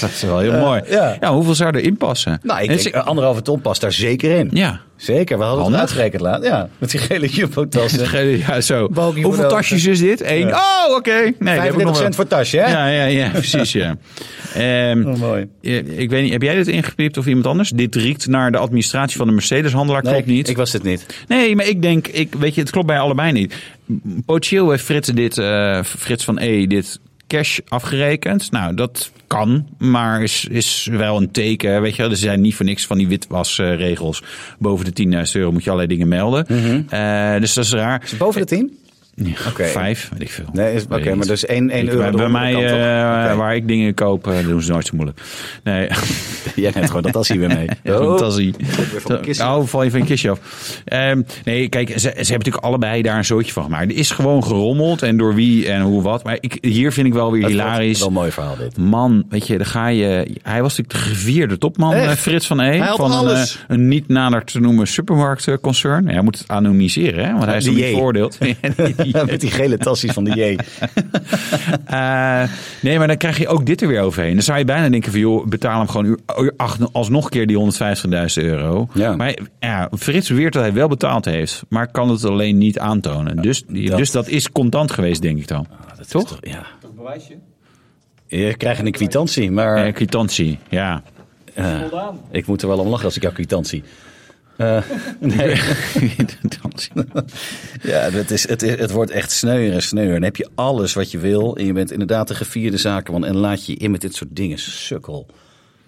dat is wel heel mooi. Eh, ja. Ja. hoeveel zou erin passen? Nou, ik Het is- denk, eh, anderhalve ton past daar zeker in. Ja. Zeker, we hadden Handig. het uitgerekend laat. Ja, met die gele jumbo-tassen. eh, Ja, zo. Balkie voor Hoeveel de- tasjes is dit? Eén. Ja. Oh, oké. Nee, die heb ik 35 nog wel. cent voor tasje, hè? Ja, ja, ja, precies, ja. Ehm, Oh, mooi. ja, ik weet niet, heb jij dit ingepiept of iemand anders? Dit riekt naar de administratie van de Mercedes-handelaar, klopt ik- niet. Ik was het niet. Nee, maar ik denk, ik, weet je, het klopt bij allebei niet. Potentieel heeft Frits, dit, eh, Frits van E dit cash afgerekend. Nou, dat kan, maar is, is wel een teken. Weet je, wel. er zijn niet voor niks van die witwasregels. Boven de 10.000 euro moet je allerlei dingen melden. Mhm. Eh, dus dat is raar. Boven de 10? Oké. Vijf, weet ik veel. Nee, is- Ik oké, weet niet. maar dus één- één Ik- euro Bij, de bij mij, onderkant, toch? eh, Oké. waar ik dingen koop, eh, doen ze nooit zo moeilijk. Nee. Jij neemt gewoon dat tasje weer mee. Ja, Oh. zo'n tassie. weer van een kistje. Oh, val je van een kistje af. Ehm, nee, kijk, ze, ze hebben natuurlijk allebei daar een zootje van gemaakt. Er is gewoon gerommeld en door wie en hoe wat. Maar ik, hier vind ik wel weer Dat is hilarisch. Wel een mooi verhaal dit. Man, weet je, dan ga je. Hij was natuurlijk de gevierde topman, Echt? eh, Frits van E. Hij had Van een, alles. eh, een niet nader te noemen supermarktconcern. Ja, hij moet het anonimiseren, hè, want hij is Die nog J. niet veroordeeld. met die gele tassies van de J. Eh, nee, maar dan krijg je ook dit er weer overheen. Dan zou je bijna denken van, joh, betaal hem gewoon uur, uur acht, alsnog een keer die 150.000 euro. Ja. Maar ja, Frits beweert dat hij wel betaald heeft, maar kan het alleen niet aantonen. Dus dat, dat- dus dat is contant geweest, denk ik dan. Dat Toch? Is toch ja. Je krijgt een kwitantie, maar Eh, kwitantie, ja. ik moet er wel om lachen als ik jouw kwitantie. Eh, nee. Dat- Ja, het, is, het, is- het wordt echt sneuwer en sneuwer. Dan heb je alles wat je wil. En je bent inderdaad de gevierde zakenman. En laat je je in met dit soort dingen. Sukkel.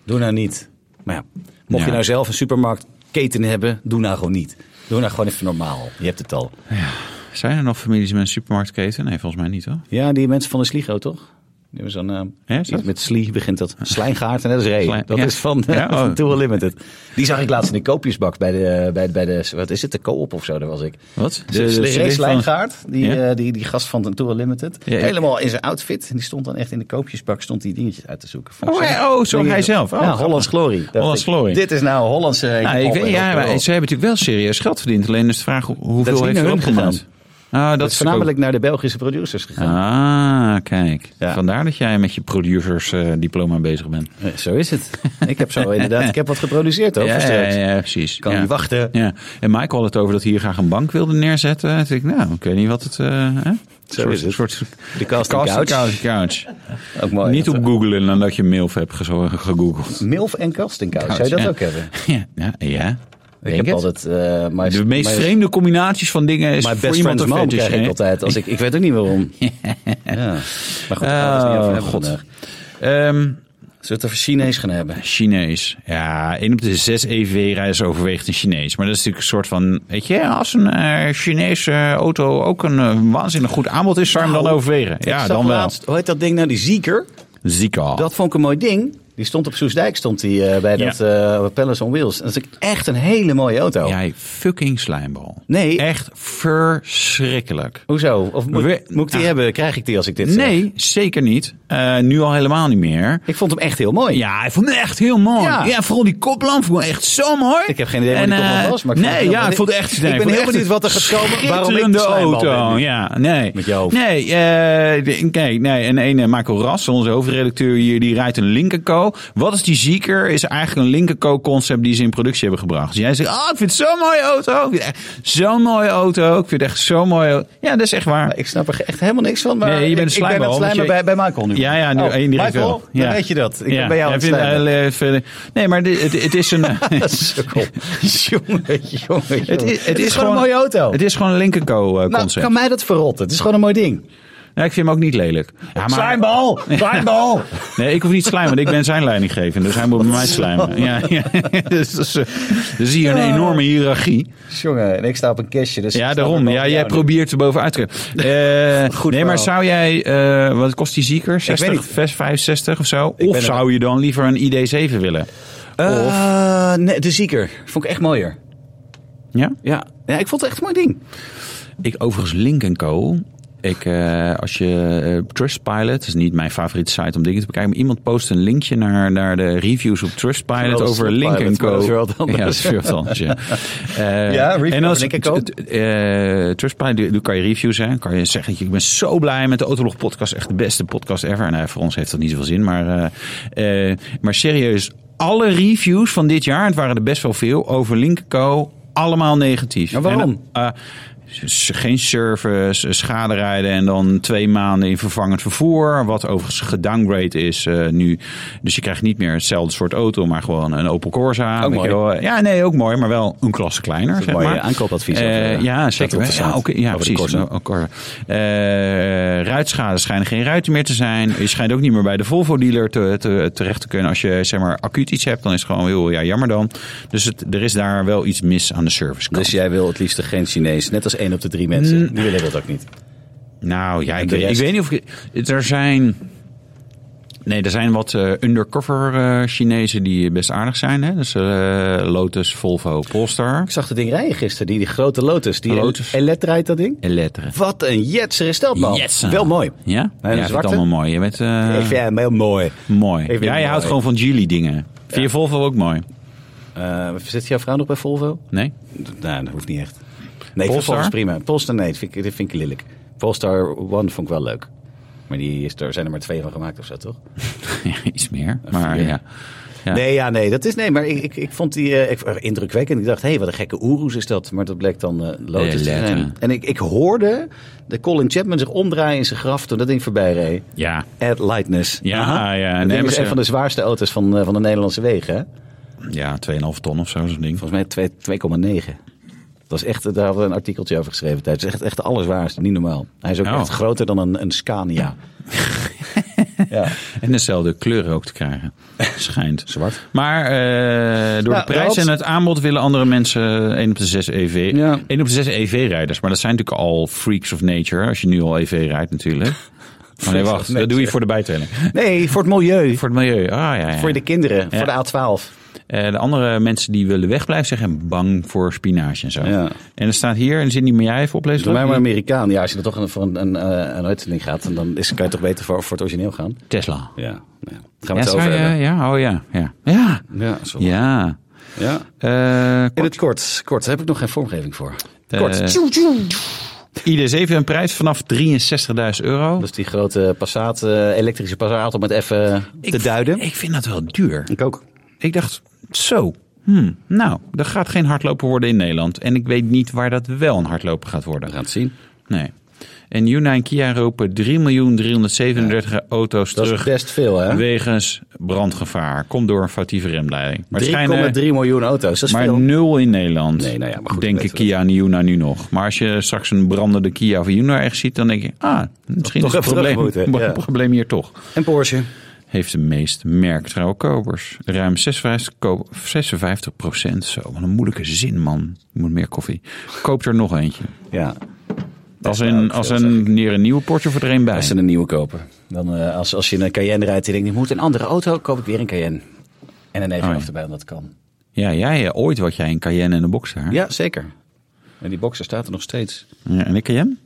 Doe nou niet. Maar ja, mocht Ja. je nou zelf een supermarktketen hebben, doe nou gewoon niet. Doe nou gewoon even normaal. Je hebt het al. Zijn er nog families met een supermarktketen? Nee, volgens mij niet hoor. Ja, die mensen van de Sligo, toch? Die hebben zo'n... eh, Ja, is iets dat? met Slie begint dat. Slijngaard en dat is Ray. Slijn- dat ja. is van, eh, Ja, oh. van Tour Limited. Die zag ik laatst in de koopjesbak bij de, eh, bij, bij de... Wat is het? De co-op of zo, daar was ik. Wat? De, de, CD Ray van- Slijngaard, die, Ja? eh, die, die gast van Tour Limited. Ja, ja. Helemaal in zijn outfit. En die stond dan echt in de koopjesbak stond die dingetjes uit te zoeken. Vond ik Oh, zo- hij- oh, zo dingen- hij zelf. Oh, ja, grappig. Hollands Glory. dacht Hollands ik. Glory. Dit is nou Hollandse... Nou, ik hip-hop weet, en ja, rock'n'roll. maar ze hebben natuurlijk wel serieus geld verdiend. Alleen is de vraag hoe- Dat is hoeveel niet heeft naar erop hun gedaan. gedaan. Ah, dat, Dat is is ook- voornamelijk naar de Belgische producers gegaan. Ah, kijk. Ja. Vandaar dat jij met je producers-diploma bezig bent. Eh, Zo is het. Ik heb zo inderdaad, ik heb wat geproduceerd ook. ja, ja, versterkt. ja, precies. Kan ja. niet wachten. Ja. En Mike had het over dat hij hier graag een bank wilde neerzetten. Toen dacht ik, nou, ik weet niet wat het... eh, hè? Een is het. soort De casting casting couch. couch. couch. Ook mooi. Niet op googlen nadat je MILF hebt gezo- gegoogeld. Milf en casting couch. Zou je dat Ja. ook hebben? Ja, ja. ja. Ik Denk heb het. altijd... eh, my, De meest my- vreemde combinaties van dingen is My voor best iemand friend's een mom fetish. krijg ik hè? altijd. Als ik, ik weet ook niet waarom. ja. Maar goed, daar gaan we het niet over Oh, hebben god. vandaag. Zullen Ehm, we het over Chinees gaan hebben? Chinees. Ja, één op de zes EV-reizigers overweegt een Chinees. Maar dat is natuurlijk een soort van... Weet je, als een eh, Chinese auto ook een eh, waanzinnig goed aanbod is... zou je hem dan Nou, overwegen. Ja, Ik zag dan wel. laatst- hoe heet dat ding nou? Die zieker. Zika. Dat vond ik een mooi ding. Die stond op Soesdijk stond die, eh, bij Ja. dat eh, Palace on Wheels. Dat is echt een hele mooie auto. Jij fucking slijmbal. Nee. Echt verschrikkelijk. Hoezo? Of moet, We- moet ik die Ah. hebben? Krijg ik die als ik dit zeg? Nee, zeker niet. Eh, nu al helemaal niet meer. Ik vond hem echt heel mooi. Ja, hij vond het echt heel mooi. Ja, Ja. vooral die koplamp vond ik echt zo mooi. Ik heb geen idee waar die En, koplamp eh, was, maar ik vond nee, het ja, heel- ik vond het echt... Ik nee, ben vond heel echt benieuwd een wat er gaat komen, waarom ik schitterende de slijmbal ben auto. nu. Ja, nee. Met je hoofd. Nee, eh, de- kijk, nee. En een eh, Marco Ras, onze hoofdredacteur hier, die rijdt een Linkerco. Wat is die zieker? Is eigenlijk een Linkerco concept die ze in productie hebben gebracht. Dus jij zegt, ah, ik vind het zo'n mooie auto. Ik vind het echt Zo'n mooie auto. Ik vind het echt zo'n mooie auto. Ja, dat is echt waar. Ik snap er echt helemaal niks van. Maar Nee, je bent een ik- ik, ben slijmbal, het slijmen want je- bij, bij Michael nu. Ja, ja, nu Oh, indirect Michael, wel. dan Ja. weet je dat. Ik ben bij jou Jij aan het vindt, slijmen. eh, verder- Nee, maar dit- het, het is een... Sukkel. jongen, jongen, Het jongen. is, het is gewoon een mooie auto. Het is gewoon een Lincoln nou, concept. kan mij dat verrotten. Het is gewoon een mooi ding. Nou, ik vind hem ook niet lelijk. Ja, maar- Slijmbal! Slijmbal! Nee, ik hoef niet te slijmen, want ik ben zijn leidinggevende. Dus hij moet bij mij slijmen. Ja, ja. Dus, dat is, eh, dus hier een enorme hiërarchie. jongen, en ik sta op een kistje. Dus Ja, daarom. Ja, jij probeert er bovenuit te komen. Goed nee, maar verhaal. zou jij... eh, wat kost die zieker? weet 60, niet. 65 of zo? ben Of er- zou je dan liever een ID7 willen? Ah, nee, de zieker. Vond ik echt mooier. Ja? Ja. ja, ik vond het echt een mooi ding. Ik overigens Link Co. Ik, eh, als je eh, Trustpilot, is niet mijn favoriete site om dingen te bekijken, maar iemand post een linkje naar, naar de reviews op Trustpilot Wel, over Trustpilot, Link Co. maar dat is weer wat anders. Ja, dat is weer wat anders, ja. Eh, Ja, review en als over Link Co. het- het- eh, Trustpilot, daar kan je reviews, hè, kan je zeggen, ik ben zo blij met de Autolog podcast, echt de beste podcast ever. Nou, voor ons heeft dat niet zoveel zin, maar, eh, eh, maar serieus, alle reviews van dit jaar, en het waren er best wel veel, over Link Co. Allemaal negatief. Maar waarom? En, eh, s- geen service, schaderijden en dan twee maanden in vervangend vervoer. Wat overigens gedowngrade is eh, nu. Dus je krijgt niet meer hetzelfde soort auto, maar gewoon een Opel Corsa. Ook weet mooi. je wel. Ja, nee, ook mooi, maar wel een klasse kleiner. Zeg een mooi, maar. eh, aankoopadvies Eh, over, eh, ja, staat zeker. op Ja, de site oké, ja over de precies. Corsa. Oh, Corsa. Eh, ruitschade schijnen geen ruiten meer te zijn. Je schijnt ook niet meer bij de Volvo-dealer te, te- terecht te kunnen. Als je zeg maar, acuut iets hebt, dan is het gewoon heel ja, jammer dan. Dus het, er is daar wel iets mis aan de service. Dus jij wil het liefst geen Chinees. Net als één op de drie mensen. Die willen dat ook niet. Nou ja, ik, de weet- ik rest? weet niet of ik. Er zijn. Nee, er zijn wat eh, undercover eh, Chinezen die best aardig zijn. Hè? Dus eh, Lotus, Volvo, Polestar. Ik zag dat ding rijden gisteren. Die, die grote Lotus. Die Lotus. Elet rijdt dat ding. Eletre. Wat een jetser is dat, man. Jetser. Wel mooi. eh. Ja? Ja, En dat is zwarte? allemaal mooi. Je bent eh, Ik vind hem heel mooi. mooi. vind ja, het je houdt mooi. gewoon van Geely dingen. Vind je Volvo ook mooi? Eh, zit jouw vrouw nog bij Volvo? Nee? Nou, dat hoeft niet echt. Nee, Polestar? Polestar is prima. Polestar, nee, dat vind, ik, dat vind ik lelijk. Polestar One vond ik wel leuk. Maar die is, er zijn er maar twee van gemaakt of zo, toch? Iets meer. Maar vier. ja. Ja. Nee, ja, nee, dat is nee. Maar ik, ik, ik vond die eh, ik, eh, indrukwekkend. Ik dacht, hé, wat een gekke Oeroes is dat. Maar dat bleek dan eh Lotus te Eletter. zijn. En ik, ik hoorde de Colin Chapman zich omdraaien in zijn graf toen dat ding voorbij reed. Ja. At Lightness. Ja, Aha. ja, Dat nee, ding maar is ze- een van de zwaarste auto's van, eh, van de Nederlandse wegen. hè? Ja, 2,5 ton of zo, zo'n ding. Volgens mij twee- 2,9. Dat is echt, daar hadden we een artikeltje over geschreven. Het is echt, echt alles waars, niet normaal. Hij is ook Oh. echt groter dan een, een Scania. ja. En dezelfde kleuren ook te krijgen. Schijnt. Zwart. Maar eh, door Nou, de prijs Ralf. en het aanbod willen andere mensen 1 op de 6 EV. Ja. 1 op de 6 EV-rijders. Maar dat zijn natuurlijk al freaks of nature. Als je nu al EV rijdt natuurlijk. Maar nee, of wacht. Dat nature. doe je voor de bijtelling. Nee, voor het milieu. Voor het milieu. Ah, ja, ja. Voor de kinderen, voor de A12. Eh, de andere mensen die willen wegblijven zeggen bang voor spinazie en zo. Ja. En er staat hier, en er zit niet meer jij even oplezen. Doe Rob? mij maar Amerikaan. Ja, als je dan toch een- voor een, een, eh, een uitzending gaat, dan is, kan je toch beter voor, voor het origineel gaan. Tesla. Ja. nou ja. Daar Gaan we Ja, het zo zou over je- hebben. ja, oh ja. Ja. ja. Ja, sorry. ja. Ja. Eh, In het kort, kort, daar heb ik nog geen vormgeving voor. Kort. Eh, ID7 een prijs vanaf 63.000 euro. Dus die grote Passat, eh, elektrische Passat, om het even te duiden. Ik vind dat wel duur. Ik ook. Ik dacht, zo. Hmm, nou, er gaat geen hardloper worden in Nederland. En ik weet niet waar dat wel een hardloper gaat We worden. gaan het zien. Nee. En Hyundai en Kia roepen 3.337 auto's Dat terug is best veel, hè? 3,3 wegens brandgevaar. Komt door een foutieve remleiding. Maar het schijnen- miljoen auto's, dat is maar veel. nul in Nederland. Nee, nou ja, maar goed, Denken weten we Kia en Hyundai nu nog. Maar als je straks een brandende Kia of Hyundai echt ziet, dan denk je, ah, misschien is Toch het even terug probleem, moeten, ja. het probleem hier toch. En Porsche. Heeft de meest merktrouwe kopers. Ruim 56 ko- 56 procent. Zo, wat een moeilijke zin, man. Ik moet meer koffie. Koop er nog eentje. Ja. Als zou een, ook als veel een, neer een nieuwe Porsche voor er een bij. Als ze een nieuwe kopen. Dan, eh, als, als je een Cayenne rijdt en je denkt, ik moet een andere auto, koop ik weer een Cayenne. En een 911 Oh, ja. erbij, omdat dat kan. Ja, jij eh, ooit wat jij een Cayenne en een Boxster. Ja, zeker. En die boxer staat er nog steeds. Ja, en een Cayenne?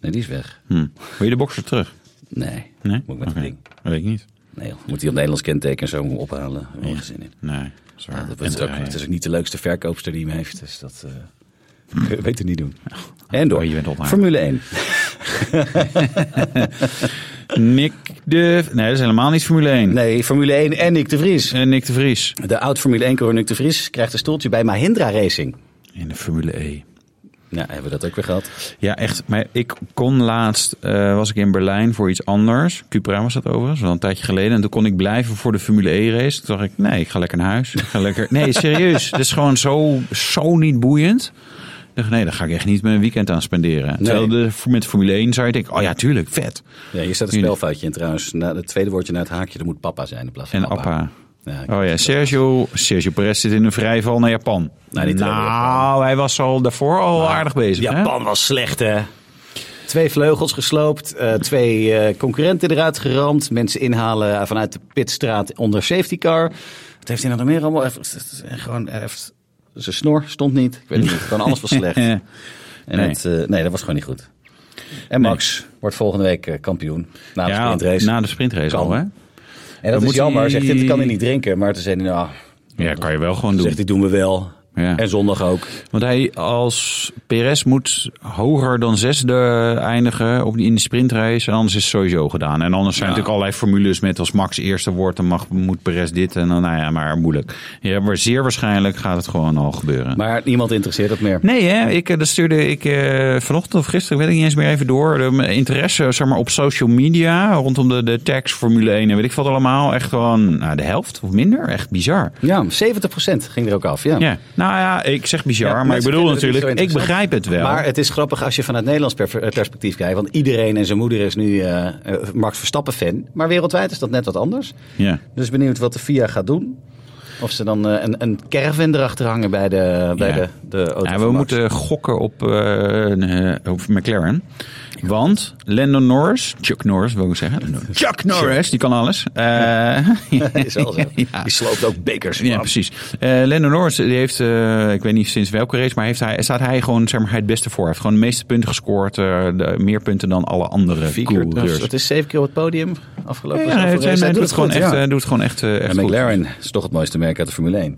Nee, die is weg. Hm. Wil je de Boxster terug? Nee. Nee? Moet ik met Oké. een ding. Dat weet ik niet. Nee, joh. moet die op Nederlands kenteken en zo ophalen. Daar heb ik geen zin in. Nee. Zwaar. Dat En is ook, terrein. het is ook niet de leukste verkoopster die hem heeft. Dus dat eh, kun je beter niet doen. En door. Hm. Oh, je bent op Hm. haar. Formule 1. Nick de... Nee, dat is helemaal niet Formule 1. Nee, Formule 1 en Nick de Vries. En Nick de Vries. De oud-Formule 1-coureur Nick de Vries krijgt een stoeltje bij Mahindra Racing. In de Formule E. Nou, hebben we dat ook weer gehad. Ja, echt. Maar ik kon laatst, eh, was ik in Berlijn voor iets anders. Cupra was dat overigens, wel een tijdje geleden. En toen kon ik blijven voor de Formule E race. Toen dacht ik, nee, ik ga lekker naar huis. Ik ga lekker... Nee, serieus. Dit is gewoon zo, zo niet boeiend. Ik dacht, nee, daar ga ik echt niet mijn weekend aan spenderen. Terwijl de, met de Formule 1 zou je denken, oh ja, tuurlijk, vet. Ja, hier staat een spelfoutje in trouwens. Na het tweede woordje na het haakje, er moet papa zijn in plaats van En Appa. Ja, ik- Oh ja, Sergio, Sergio Perez zit in een vrijval naar Japan. Nou, niet helemaal nou hij was al daarvoor al aardig bezig. hè? Nou, Japan was slecht, hè? Twee vleugels gesloopt, eh, twee eh, concurrenten eruit geramd, mensen inhalen eh, vanuit de pitstraat onder safety car. Wat heeft hij nou nog meer allemaal? Even, en gewoon, hij heeft- zijn snor stond niet. Ik weet het niet. Gewoon alles was slecht. En Eh, nee. het, eh, nee, dat was gewoon niet goed. En Max wordt volgende week eh, kampioen na de Ja, sprintrace. na de sprintrace Kan. al, hè? en dat dan is moet jammer. hij- Zegt, dit kan hij niet drinken. Maar toen zei hij, nou, Ja, kan je wel gewoon doen. zegt, dit doen we wel. Ja. En zondag ook. Want hij als Perez moet hoger dan zesde eindigen op die, in de sprintrace. En anders is het sowieso gedaan. En anders zijn natuurlijk allerlei formules met als Max eerste wordt, dan mag, moet Perez dit. En dan, nou ja, maar moeilijk. Ja, maar zeer waarschijnlijk gaat het gewoon al gebeuren. Maar niemand interesseert dat meer. Nee, hè? Ik, eh, dat stuurde ik eh, vanochtend of gisteren, weet ik niet eens meer even door. De, mijn interesse zeg maar, op social media rondom de, de tags Formule 1 en weet ik wat allemaal. Echt gewoon nou, de helft of minder. Echt bizar. Ja, 70% ging er ook af. Ja. Ja. Nou ja, ik zeg bizar, Ja, maar ik mensen bedoel vinden het niet natuurlijk, zo ik interessant. begrijp het wel. Maar het is grappig als je vanuit Nederlands per- eh, perspectief kijkt. Want iedereen en zijn moeder is nu eh, eh, Max Verstappen fan. Maar wereldwijd is dat net wat anders. Ja. Dus benieuwd wat de FIA gaat doen. Of ze dan eh, een, een caravan erachter hangen bij de, bij Ja. de, de auto. Ja, we van Max. moeten gokken op, eh, een, eh, op McLaren. Want Landon Norris, Chuck Norris wil ik zeggen. Chuck Norris, die kan alles. Eh, is wel zo. Ja. Die sloopt ook bekers. Ja, precies. Eh Lando Norris die heeft, eh, ik weet niet sinds welke race, maar heeft hij, staat hij gewoon zeg maar, hij het beste voor. Hij heeft gewoon de meeste punten gescoord, eh, de, meer punten dan alle andere Vier keer, coureurs. het Dus is zeven keer op het podium afgelopen. Ja, zoveel hij- races. hij Hij doet het gewoon goed, echt, ja. eh, doet het gewoon echt, eh, echt En goed. McLaren is toch het mooiste merk uit de Formule 1.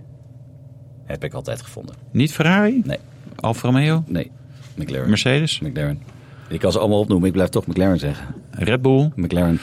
Heb ik altijd gevonden. Niet Ferrari, Nee, Alfa Romeo, nee. McLaren. Mercedes, McLaren. Ik kan ze allemaal opnoemen, ik blijf toch McLaren zeggen. Red Bull. McLaren.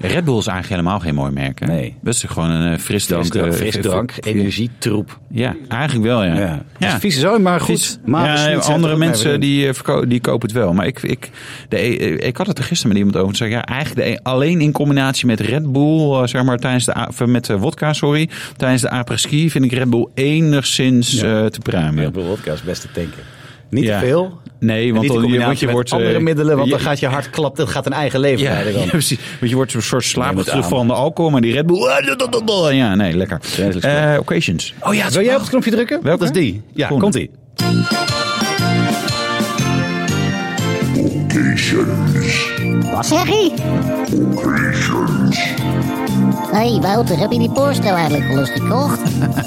Red Bull is eigenlijk helemaal geen mooi merk. Hè? Nee. Dat is toch gewoon een eh, frisdrank. Frisdrank, eh, frisdrank fri- energietroep. Ja, eigenlijk wel, ja. Ja. Dat is vies zo, maar goed. dus Vies. Maar ja, Smit zei het andere ook, maar we mensen doen- die, eh, verko- die kopen het wel. Maar ik, ik, de, eh, ik had het er gisteren met iemand over. Zeg, ja, eigenlijk de, e-, alleen in combinatie met Red Bull, eh, zeg maar, tijdens de, a- of met eh, wodka, sorry, tijdens de apres-ski vind ik Red Bull enigszins eh, te pruimen. Red Bull Wodka is best te tanken. Niet Ja. te veel. Nee, want, Want, dan, je, want je wordt... andere eh, middelen, want je- dan gaat je hart klapt. Dat gaat een eigen leven ja, leiden ja, dan. precies. Want je wordt een soort slaapig Neem het terug aan. van de alcohol, maar die Red Bull... Ja, nee, lekker. Redelijk Eh, occasions. Oh ja, wil jij op het knopje drukken? Welke? Dat is die. Ja, Groen. komt die. Wat zeg je? Hé, hey, Wouter, heb je die Porsche nou eigenlijk al eens gekocht?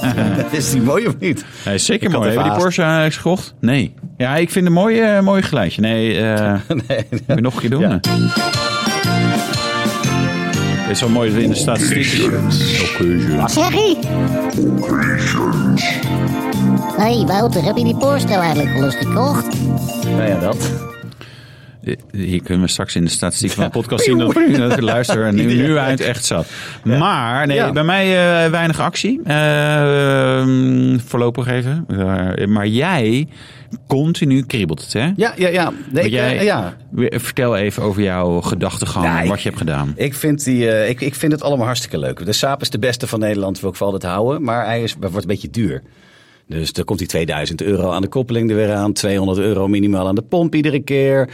Is die mooi of niet? Hij is zeker Ik had mooi. even Hebben die haast. Porsche eigenlijk gekocht? Nee. Ja, ik vind een mooi, eh, mooi geluidje. Nee, eh moet je nog een keer doen. Ja. hè? Het is wel mooi dat we in de statistiek... Wat zeg je? Hé, hey, Wouter, heb je die Porsche nou eigenlijk al eens gekocht? Nou ja, dat. Eh, Hier kunnen we straks in de statistiek van de podcast zien dat, dat de luisteraar nu, nu uit echt zat. Maar nee, Ja. bij mij eh, weinig actie. Eh, voorlopig even. Eh, maar jij continu kriebelt het, hè? Ja, ja, ja. Nee, ik, jij, eh, ja. Vertel even over jouw gedachtegang, Ja, ik- wat je hebt gedaan. Ik vind, die, eh, ik, ik vind het allemaal hartstikke leuk. De Saab is de beste van Nederland, wil ik voor altijd houden. Maar hij is, wordt een beetje duur. Dus dan komt die 2000 euro aan de koppeling er weer aan. 200 euro minimaal aan de pomp iedere keer.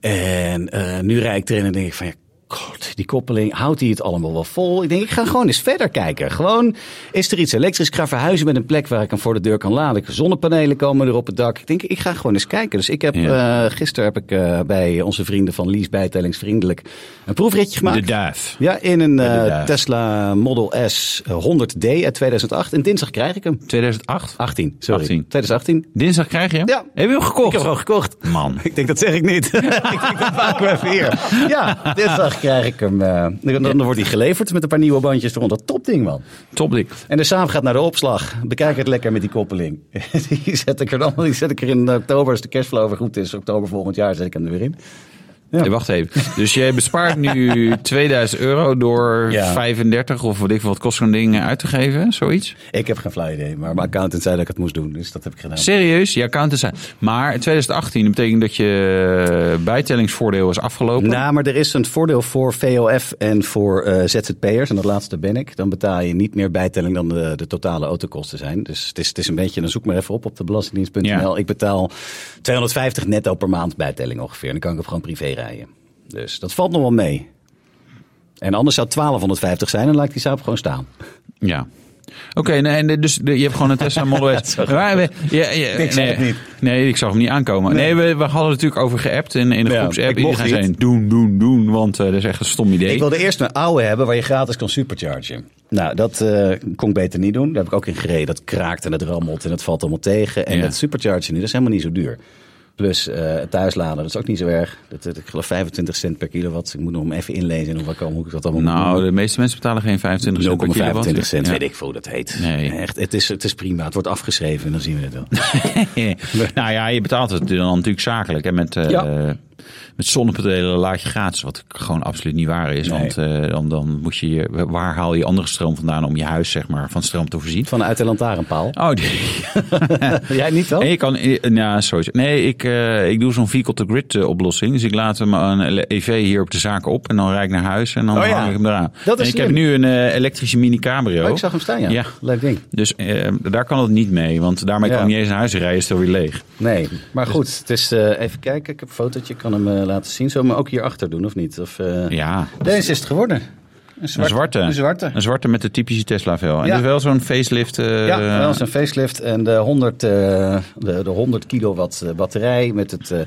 En eh, nu rijd ik erin en denk ik van... Ja, God, die koppeling, houdt hij het allemaal wel vol? Ik denk, ik ga gewoon eens verder kijken. Gewoon, is er iets elektrisch? Ik ga verhuizen met een plek waar ik hem voor de deur kan laden. Zonnepanelen komen er op het dak. Ik denk, ik ga gewoon eens kijken. Dus ik heb, Ja. eh, gisteren heb ik eh, bij onze vrienden van Lies Bijtellingsvriendelijk een proefritje gemaakt. De duif. Ja, in een eh, Inderdaad. Tesla Model S 100D uit 2008. En dinsdag krijg ik hem. 2008? 18, sorry. 18. 2018. Dinsdag krijg je hem? Ja. Heb je hem gekocht? Ik heb hem gewoon gekocht. Man. Ik denk, dat zeg ik niet. ik denk, dat maken we even hier. Ja, dinsdag krijg ik hem. eh, dan, dan wordt hij geleverd met een paar nieuwe bandjes eronder. Topding, man. Topdik. En de Saab gaat naar de opslag. Bekijk het lekker met die koppeling. die, zet ik er dan, die zet ik er in oktober, als de cashflow weer goed is. Oktober volgend jaar zet ik hem er weer in. Hey, wacht even. Dus jij bespaart nu 2000 euro door Ja. 35 of wat ik veel, wat kost zo'n ding uit te geven? Zoiets? Ik heb geen flauw idee, maar mijn accountant zei dat ik het moest doen. Dus dat heb ik gedaan. Serieus? Je accountant zijn. Maar 2018, dat betekent dat je bijtellingsvoordeel is afgelopen. Nou, maar er is een voordeel voor VOF en voor eh, ZZP'ers. En dat laatste ben ik. Dan betaal je niet meer bijtelling dan de, de totale autokosten zijn. Dus het is, het is een beetje, dan zoek maar even op op de belastingdienst.nl. Ja. Ik betaal 250 netto per maand bijtelling ongeveer. En dan kan ik op gewoon privé rijden. Dus dat valt nog wel mee. En anders zou het 1250 zijn en laat ik die Saab gewoon staan. Ja. Oké, nee, en de- dus de- je hebt gewoon een Tesla Model S. Waar we, ja, ja, nee, Ik zag het niet. Nee, ik zag hem niet aankomen. Nee, we, we hadden natuurlijk over geappt in, in de Ja, groepsapp. ik mocht Iedereen zei niet. doen, doen, doen, want eh, dat is echt een stom idee. Ik wilde eerst een oude hebben waar je gratis kan superchargen. Nou, dat eh, kon ik beter niet doen. Daar heb ik ook in gereden. Dat kraakt en dat rammelt en dat valt allemaal tegen. En Ja. dat superchargen, dat is helemaal niet zo duur. Plus eh thuisladen, dat is ook niet zo erg. Dat, dat- ik geloof 25 cent per kilowatt. Ik moet nog hem even inlezen en hoe, ik- hoe ik dat allemaal moet Nou, doen. de meeste mensen betalen geen 25 cent per 0,25 kilowatt. cent, Ja. weet ik veel hoe dat heet. Nee. Echt, het, is, het is prima. Het wordt afgeschreven en dan zien we het wel. nou ja, je betaalt het dan natuurlijk zakelijk. Hè, met, eh, Ja. met zonnepanelen laat je gratis. Wat gewoon absoluut niet waar is. Nee. Want eh, dan, dan moet je, je- waar haal je andere stroom vandaan om je huis zeg maar, van stroom te voorzien? Vanuit de lantaarnpaal. Oh, die, Jij niet dan? Oh, Nee, je kan, eh, nou, sowieso. Nee, ik, eh, ik doe zo'n vehicle-to-grid eh, oplossing. Dus ik laat hem een EV hier op de zaak op en dan rijd ik naar huis en dan Oh ja. hang ik hem eraan. Dat is en ik slim. heb nu een eh, elektrische mini-cabrio. Oh, ik zag hem staan, ja. Ja. Leuk ding. Dus eh, daar kan het niet mee, want daarmee Ja. kan ik niet eens naar huis rijden, is het weer leeg. Nee, maar goed, het is, eh, even kijken. Ik heb een fotootje, ik kan hem eh, laten zien. Zullen we hem ook hierachter doen, of niet? Of, eh, Ja. Deze is het geworden. Een Een zwarte. Een zwarte. Een zwarte met de typische Tesla vel. En Ja. dus wel zo'n facelift. eh, ja, wel eens een facelift en de 100, eh, de, de 100 kilowatt eh, batterij met het, eh, eh,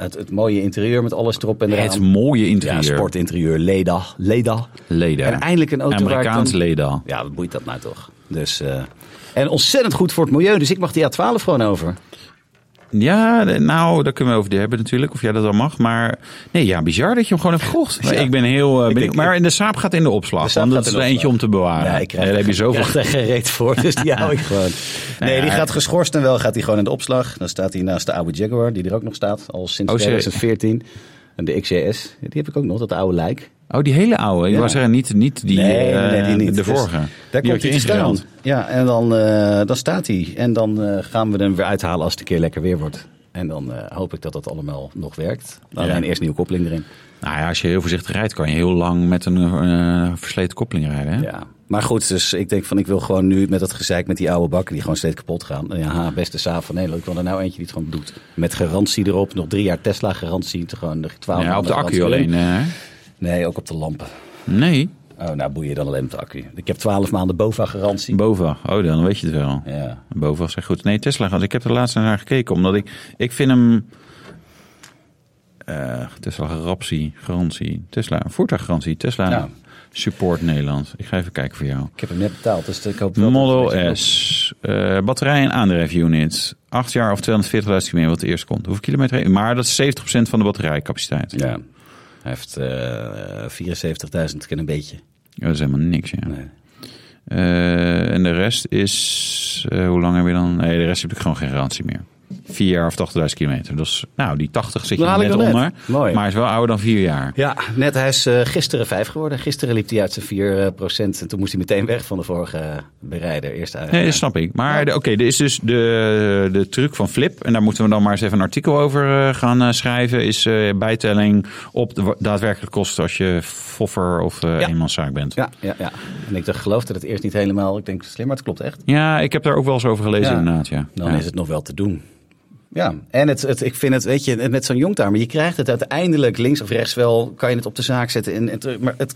het, het mooie interieur met alles erop en eraan. Het mooie interieur. Ja, sportinterieur, Leda. Leda. Leda. En eindelijk een auto waar ik Amerikaans dan- Leda. Ja, wat boeit dat nou toch? Dus, eh, en ontzettend goed voor het milieu, dus ik mag die A12 gewoon over. Ja, de- nou, daar kunnen we over die hebben natuurlijk. Of jij dat al mag. Maar nee, ja, bizar dat je hem gewoon hebt gekocht. Maar Ja. Ik ben heel... eh, benieuwd. denk- maar in de saap gaat in de opslag. De Saab want gaat dat is in er de eentje om opslag. te bewaren. Ja, ik krijg, En daar heb je ik zoveel... krijg er geen reet voor, dus die hou ik gewoon. Nee, die ja, gaat geschorst en wel gaat hij gewoon in de opslag. Dan staat hij naast de oude Jaguar, die er ook nog staat, al sinds Oh, serieus? 2014. En de XJS, die heb ik ook nog, dat oude lijk. Oh, die hele oude. Ik Ja. was er niet, niet die, nee, eh, nee, die de niet. Dus vorige. daar die komt had je hij te staan. ingeruild. Ja, en dan, eh, dan staat hij. En dan eh, gaan we hem weer uithalen als het een keer lekker weer wordt. En dan eh, hoop ik dat dat allemaal nog werkt. Dan Ja. en eerst nieuwe koppeling erin. Nou ja, als je heel voorzichtig rijdt, kan je heel lang met een eh, versleten koppeling rijden. Hè? Ja. Maar goed, dus ik denk van ik wil gewoon nu met dat gezeik met die oude bakken die gewoon steeds kapot gaan. Ja, ha, beste Saaf van Nederland. Ik wil er nou eentje die het gewoon doet. Met garantie erop. Nog drie jaar Tesla garantie. te Gewoon de 12 Ja, op de maanden accu garantie alleen. eh, erin. hè? Nee, ook op de lampen. nee, Oh, nou boeien dan alleen op de accu. Ik heb 12 maanden BOVA garantie. boven. Oh, dan weet je het wel. ja. Boven zegt goed. Nee, Tesla gaat. Ik heb er laatst naar gekeken, omdat ik, ik vind hem. eh, Tesla garantie, garantie. Tesla, voertuiggarantie. Tesla Ja. support Nederland. Ik ga even kijken voor jou. Ik heb hem net betaald, dus ik hoop wel dat het Model deze S. eh, batterij en aandrijfunit. 8 jaar of 240.000 kilometer, wat eerst komt. Hoeveel kilometer? heen? Maar dat is 70% van de batterijcapaciteit. Ja. Hij heeft eh 74.000 en een beetje. Ja, dat is helemaal niks, ja. Nee. Eh, en de rest is... eh, hoe lang heb je dan? Nee, de rest heb ik gewoon geen garantie meer. Vier jaar of 80.000 kilometer. Dus, nou, die 80 zit je Dan haal ik net hem net. onder. Mooi. Maar is wel ouder dan vier jaar. Ja, net hij is eh, gisteren 5 geworden. Gisteren liep hij uit zijn 4 eh, procent en toen moest hij meteen weg van de vorige eh, berijder. Eerst uit. Nee, dat snap ik. Maar de- oké, er is dus de, de truc van Flip. En daar moeten we dan maar eens even een artikel over eh, gaan eh, schrijven. Is eh, bijtelling op de wa- daadwerkelijke kosten als je foffer of eh Ja. eenmanszaak bent. Ja, ja, ja. En ik dacht, geloof dat het eerst niet helemaal. Ik denk, slim, maar het klopt echt. Ja, ik heb daar ook wel eens over gelezen Ja. inderdaad. Ja. Dan Ja. is het nog wel te doen. Ja, en het, het, ik vind het, weet je, met zo'n jongtamer, je krijgt het uiteindelijk links of rechts wel, kan je het op de zaak zetten. En, en terug. maar het,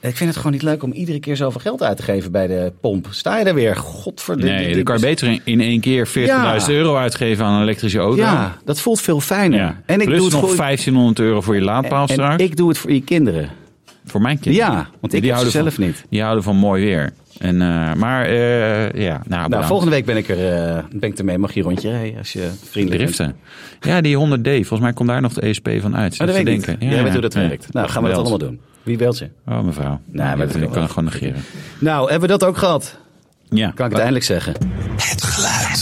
ik vind het gewoon niet leuk om iedere keer zoveel geld uit te geven bij de pomp. Sta je daar weer? Godverdomme. Nee, dan kan je beter in, in één keer 40.000 Ja. euro uitgeven aan een elektrische auto. Ja, dat voelt veel fijner. Ja. En ik Plus doe het nog voor 1500 euro voor je laadpaal en straks. ik doe het voor je kinderen. voor mijn kinderen. Ja, want ik heb ze zelf van, niet. Die houden van mooi weer. En, eh, maar eh, ja, nou, Nou, bedankt. volgende week ben ik er eh, ben ik ermee. Mag je een rondje rijden als je vriendelijk bent. Driften. Ja, die 100D. Volgens mij komt daar nog de ESP van uit. Maar Oh, Even dat weet ik niet. denken. Jij weet hoe dat Nee. werkt. Nou, gaan we dat Belt. allemaal doen. Wie belt je? Oh, mevrouw. maar Nee, dat ik kan kan wel. het gewoon negeren. Nou, hebben we dat ook gehad? Ja. Kan ik het eindelijk zeggen. Het geluid.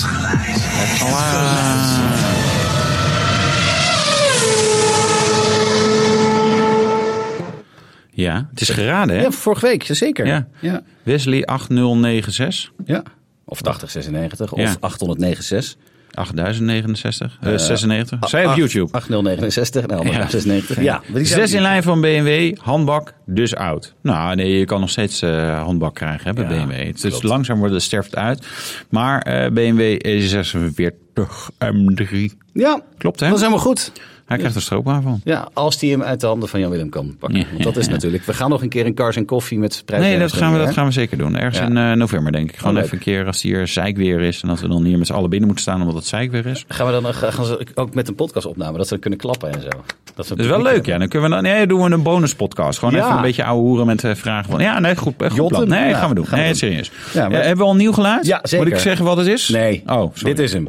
Ja, het is geraden, hè? Ja, vorige week, zeker. Ja. Ja. Wesley 8096. ja. Of 8096 Ja. of 8096. 8069. eh, 96. Zij op Acht- YouTube. 8069, Ah, nou, Ja. 8096. Ja, maar die zijn- Zes in lijn van BMW, handbak, dus oud. Nou, nee, je kan nog steeds eh, handbak krijgen hè, bij Ja, BMW. Het is klopt. langzaam wordt het sterft uit. Maar eh, BMW E46 M3. Ja, Klopt, hè? dat is helemaal goed. Hij krijgt er stroopwaar van. Ja, als die hem uit de handen van Jan Willem kan pakken. Ja. Want dat is natuurlijk. We gaan nog een keer een Cars en Koffie met prijs. Nee, dat gaan, we, dat gaan we zeker doen. Ergens Ja. in eh, november, denk ik. Gewoon Oh, leuk. even een keer als hier zeik weer is. En dat we dan hier met z'n allen binnen moeten staan omdat het zeik weer is. Gaan we dan nog- gaan ze ook met een podcast opname, dat ze dan kunnen klappen en zo. Dat, ze Dat is wel leuk, ja. Dan kunnen we dan, nee, doen we een bonuspodcast. Gewoon Ja. even een beetje ouwe hoeren met eh, vragen van... Ja, nee, goed, goed Jotten? plan. Nee, Ja, gaan we doen. gaan we nee, doen. serieus. Ja, maar- Eh, hebben we al nieuw geluid? Ja, zeker. Moet ik zeggen wat het is? Nee, Oh, sorry. dit is hem.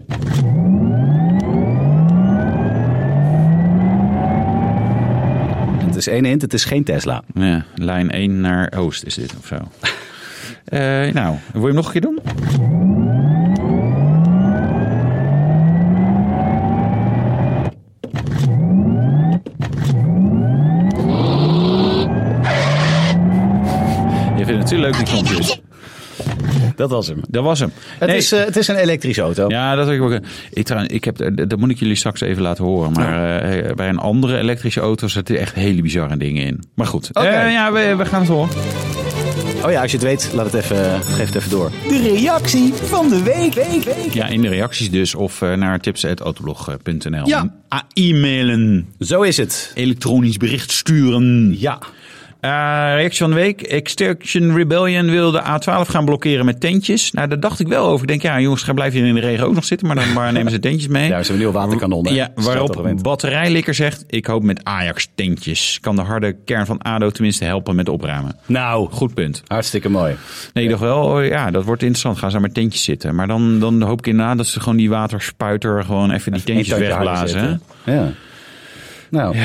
Het is één hint, het is geen Tesla. Ja, lijn 1 naar Oost is dit of zo. Eh, nou, wil je hem nog een keer doen? Je vindt het natuurlijk leuk, die knopjes. Dat was hem. Dat was hem. Het, Nee. is, eh, het is een elektrische auto. Ja, dat heb ik ook. Ik, trouwens, ik heb, dat moet ik jullie straks even laten horen. Maar eh, bij een andere elektrische auto zitten echt hele bizarre dingen in. Maar goed, Oké. Eh, ja, we, we gaan het horen. Oh ja, als je het weet, laat het even, eh, geef het even door. De reactie van de week. week, week. Ja, in de reacties dus. Of eh, naar tips.autoblog.nl. Ja. Ah, E-mailen. Zo is het. Elektronisch bericht sturen. Ja. Eh, reactie van de week. Extinction Rebellion wil de A12 gaan blokkeren met tentjes. Nou, daar dacht ik wel over. Ik denk, ja jongens, gaan blijven hier in de regen ook nog zitten. Maar dan maar nemen ze tentjes mee. Ja, ze hebben nu al waterkanonnen. Ja, Stelt toch waarop gewend. batterijlikker zegt, ik hoop met Ajax-tentjes. Kan de harde kern van ADO tenminste helpen met opruimen. Nou, Goed punt. hartstikke mooi. Nee, ik dacht wel, oh ja, dat wordt interessant. Gaan ze daar met tentjes zitten. Maar dan, dan hoop ik inderdaad dat ze gewoon die waterspuiter gewoon even die tentjes Eén tandje harder wegblazen. hè? zetten. Ja. Nou,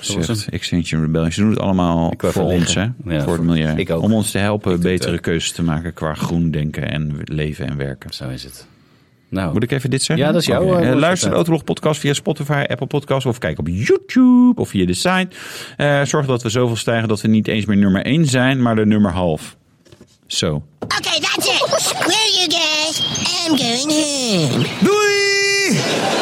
Zucht, Extinction Rebellion. Ze doen het allemaal wou voor even ons, hè? liggen. Ja, voor het voor- milieu. ik ook. Om ons te helpen doe het betere ook. keuzes te maken qua groen denken en leven en werken. zo is het. Nou. Moet ik even dit zeggen? Ja, dat is jouw, Oké. eh, Eh, woord, luister de ja. Autolog podcast via Spotify, Apple Podcast of kijk op YouTube of via de site. Eh, zorg dat we zoveel stijgen dat we niet eens meer nummer 1 zijn, maar de nummer half. Zo. Okay, that's it. Screw you guys. I'm going home. Doei!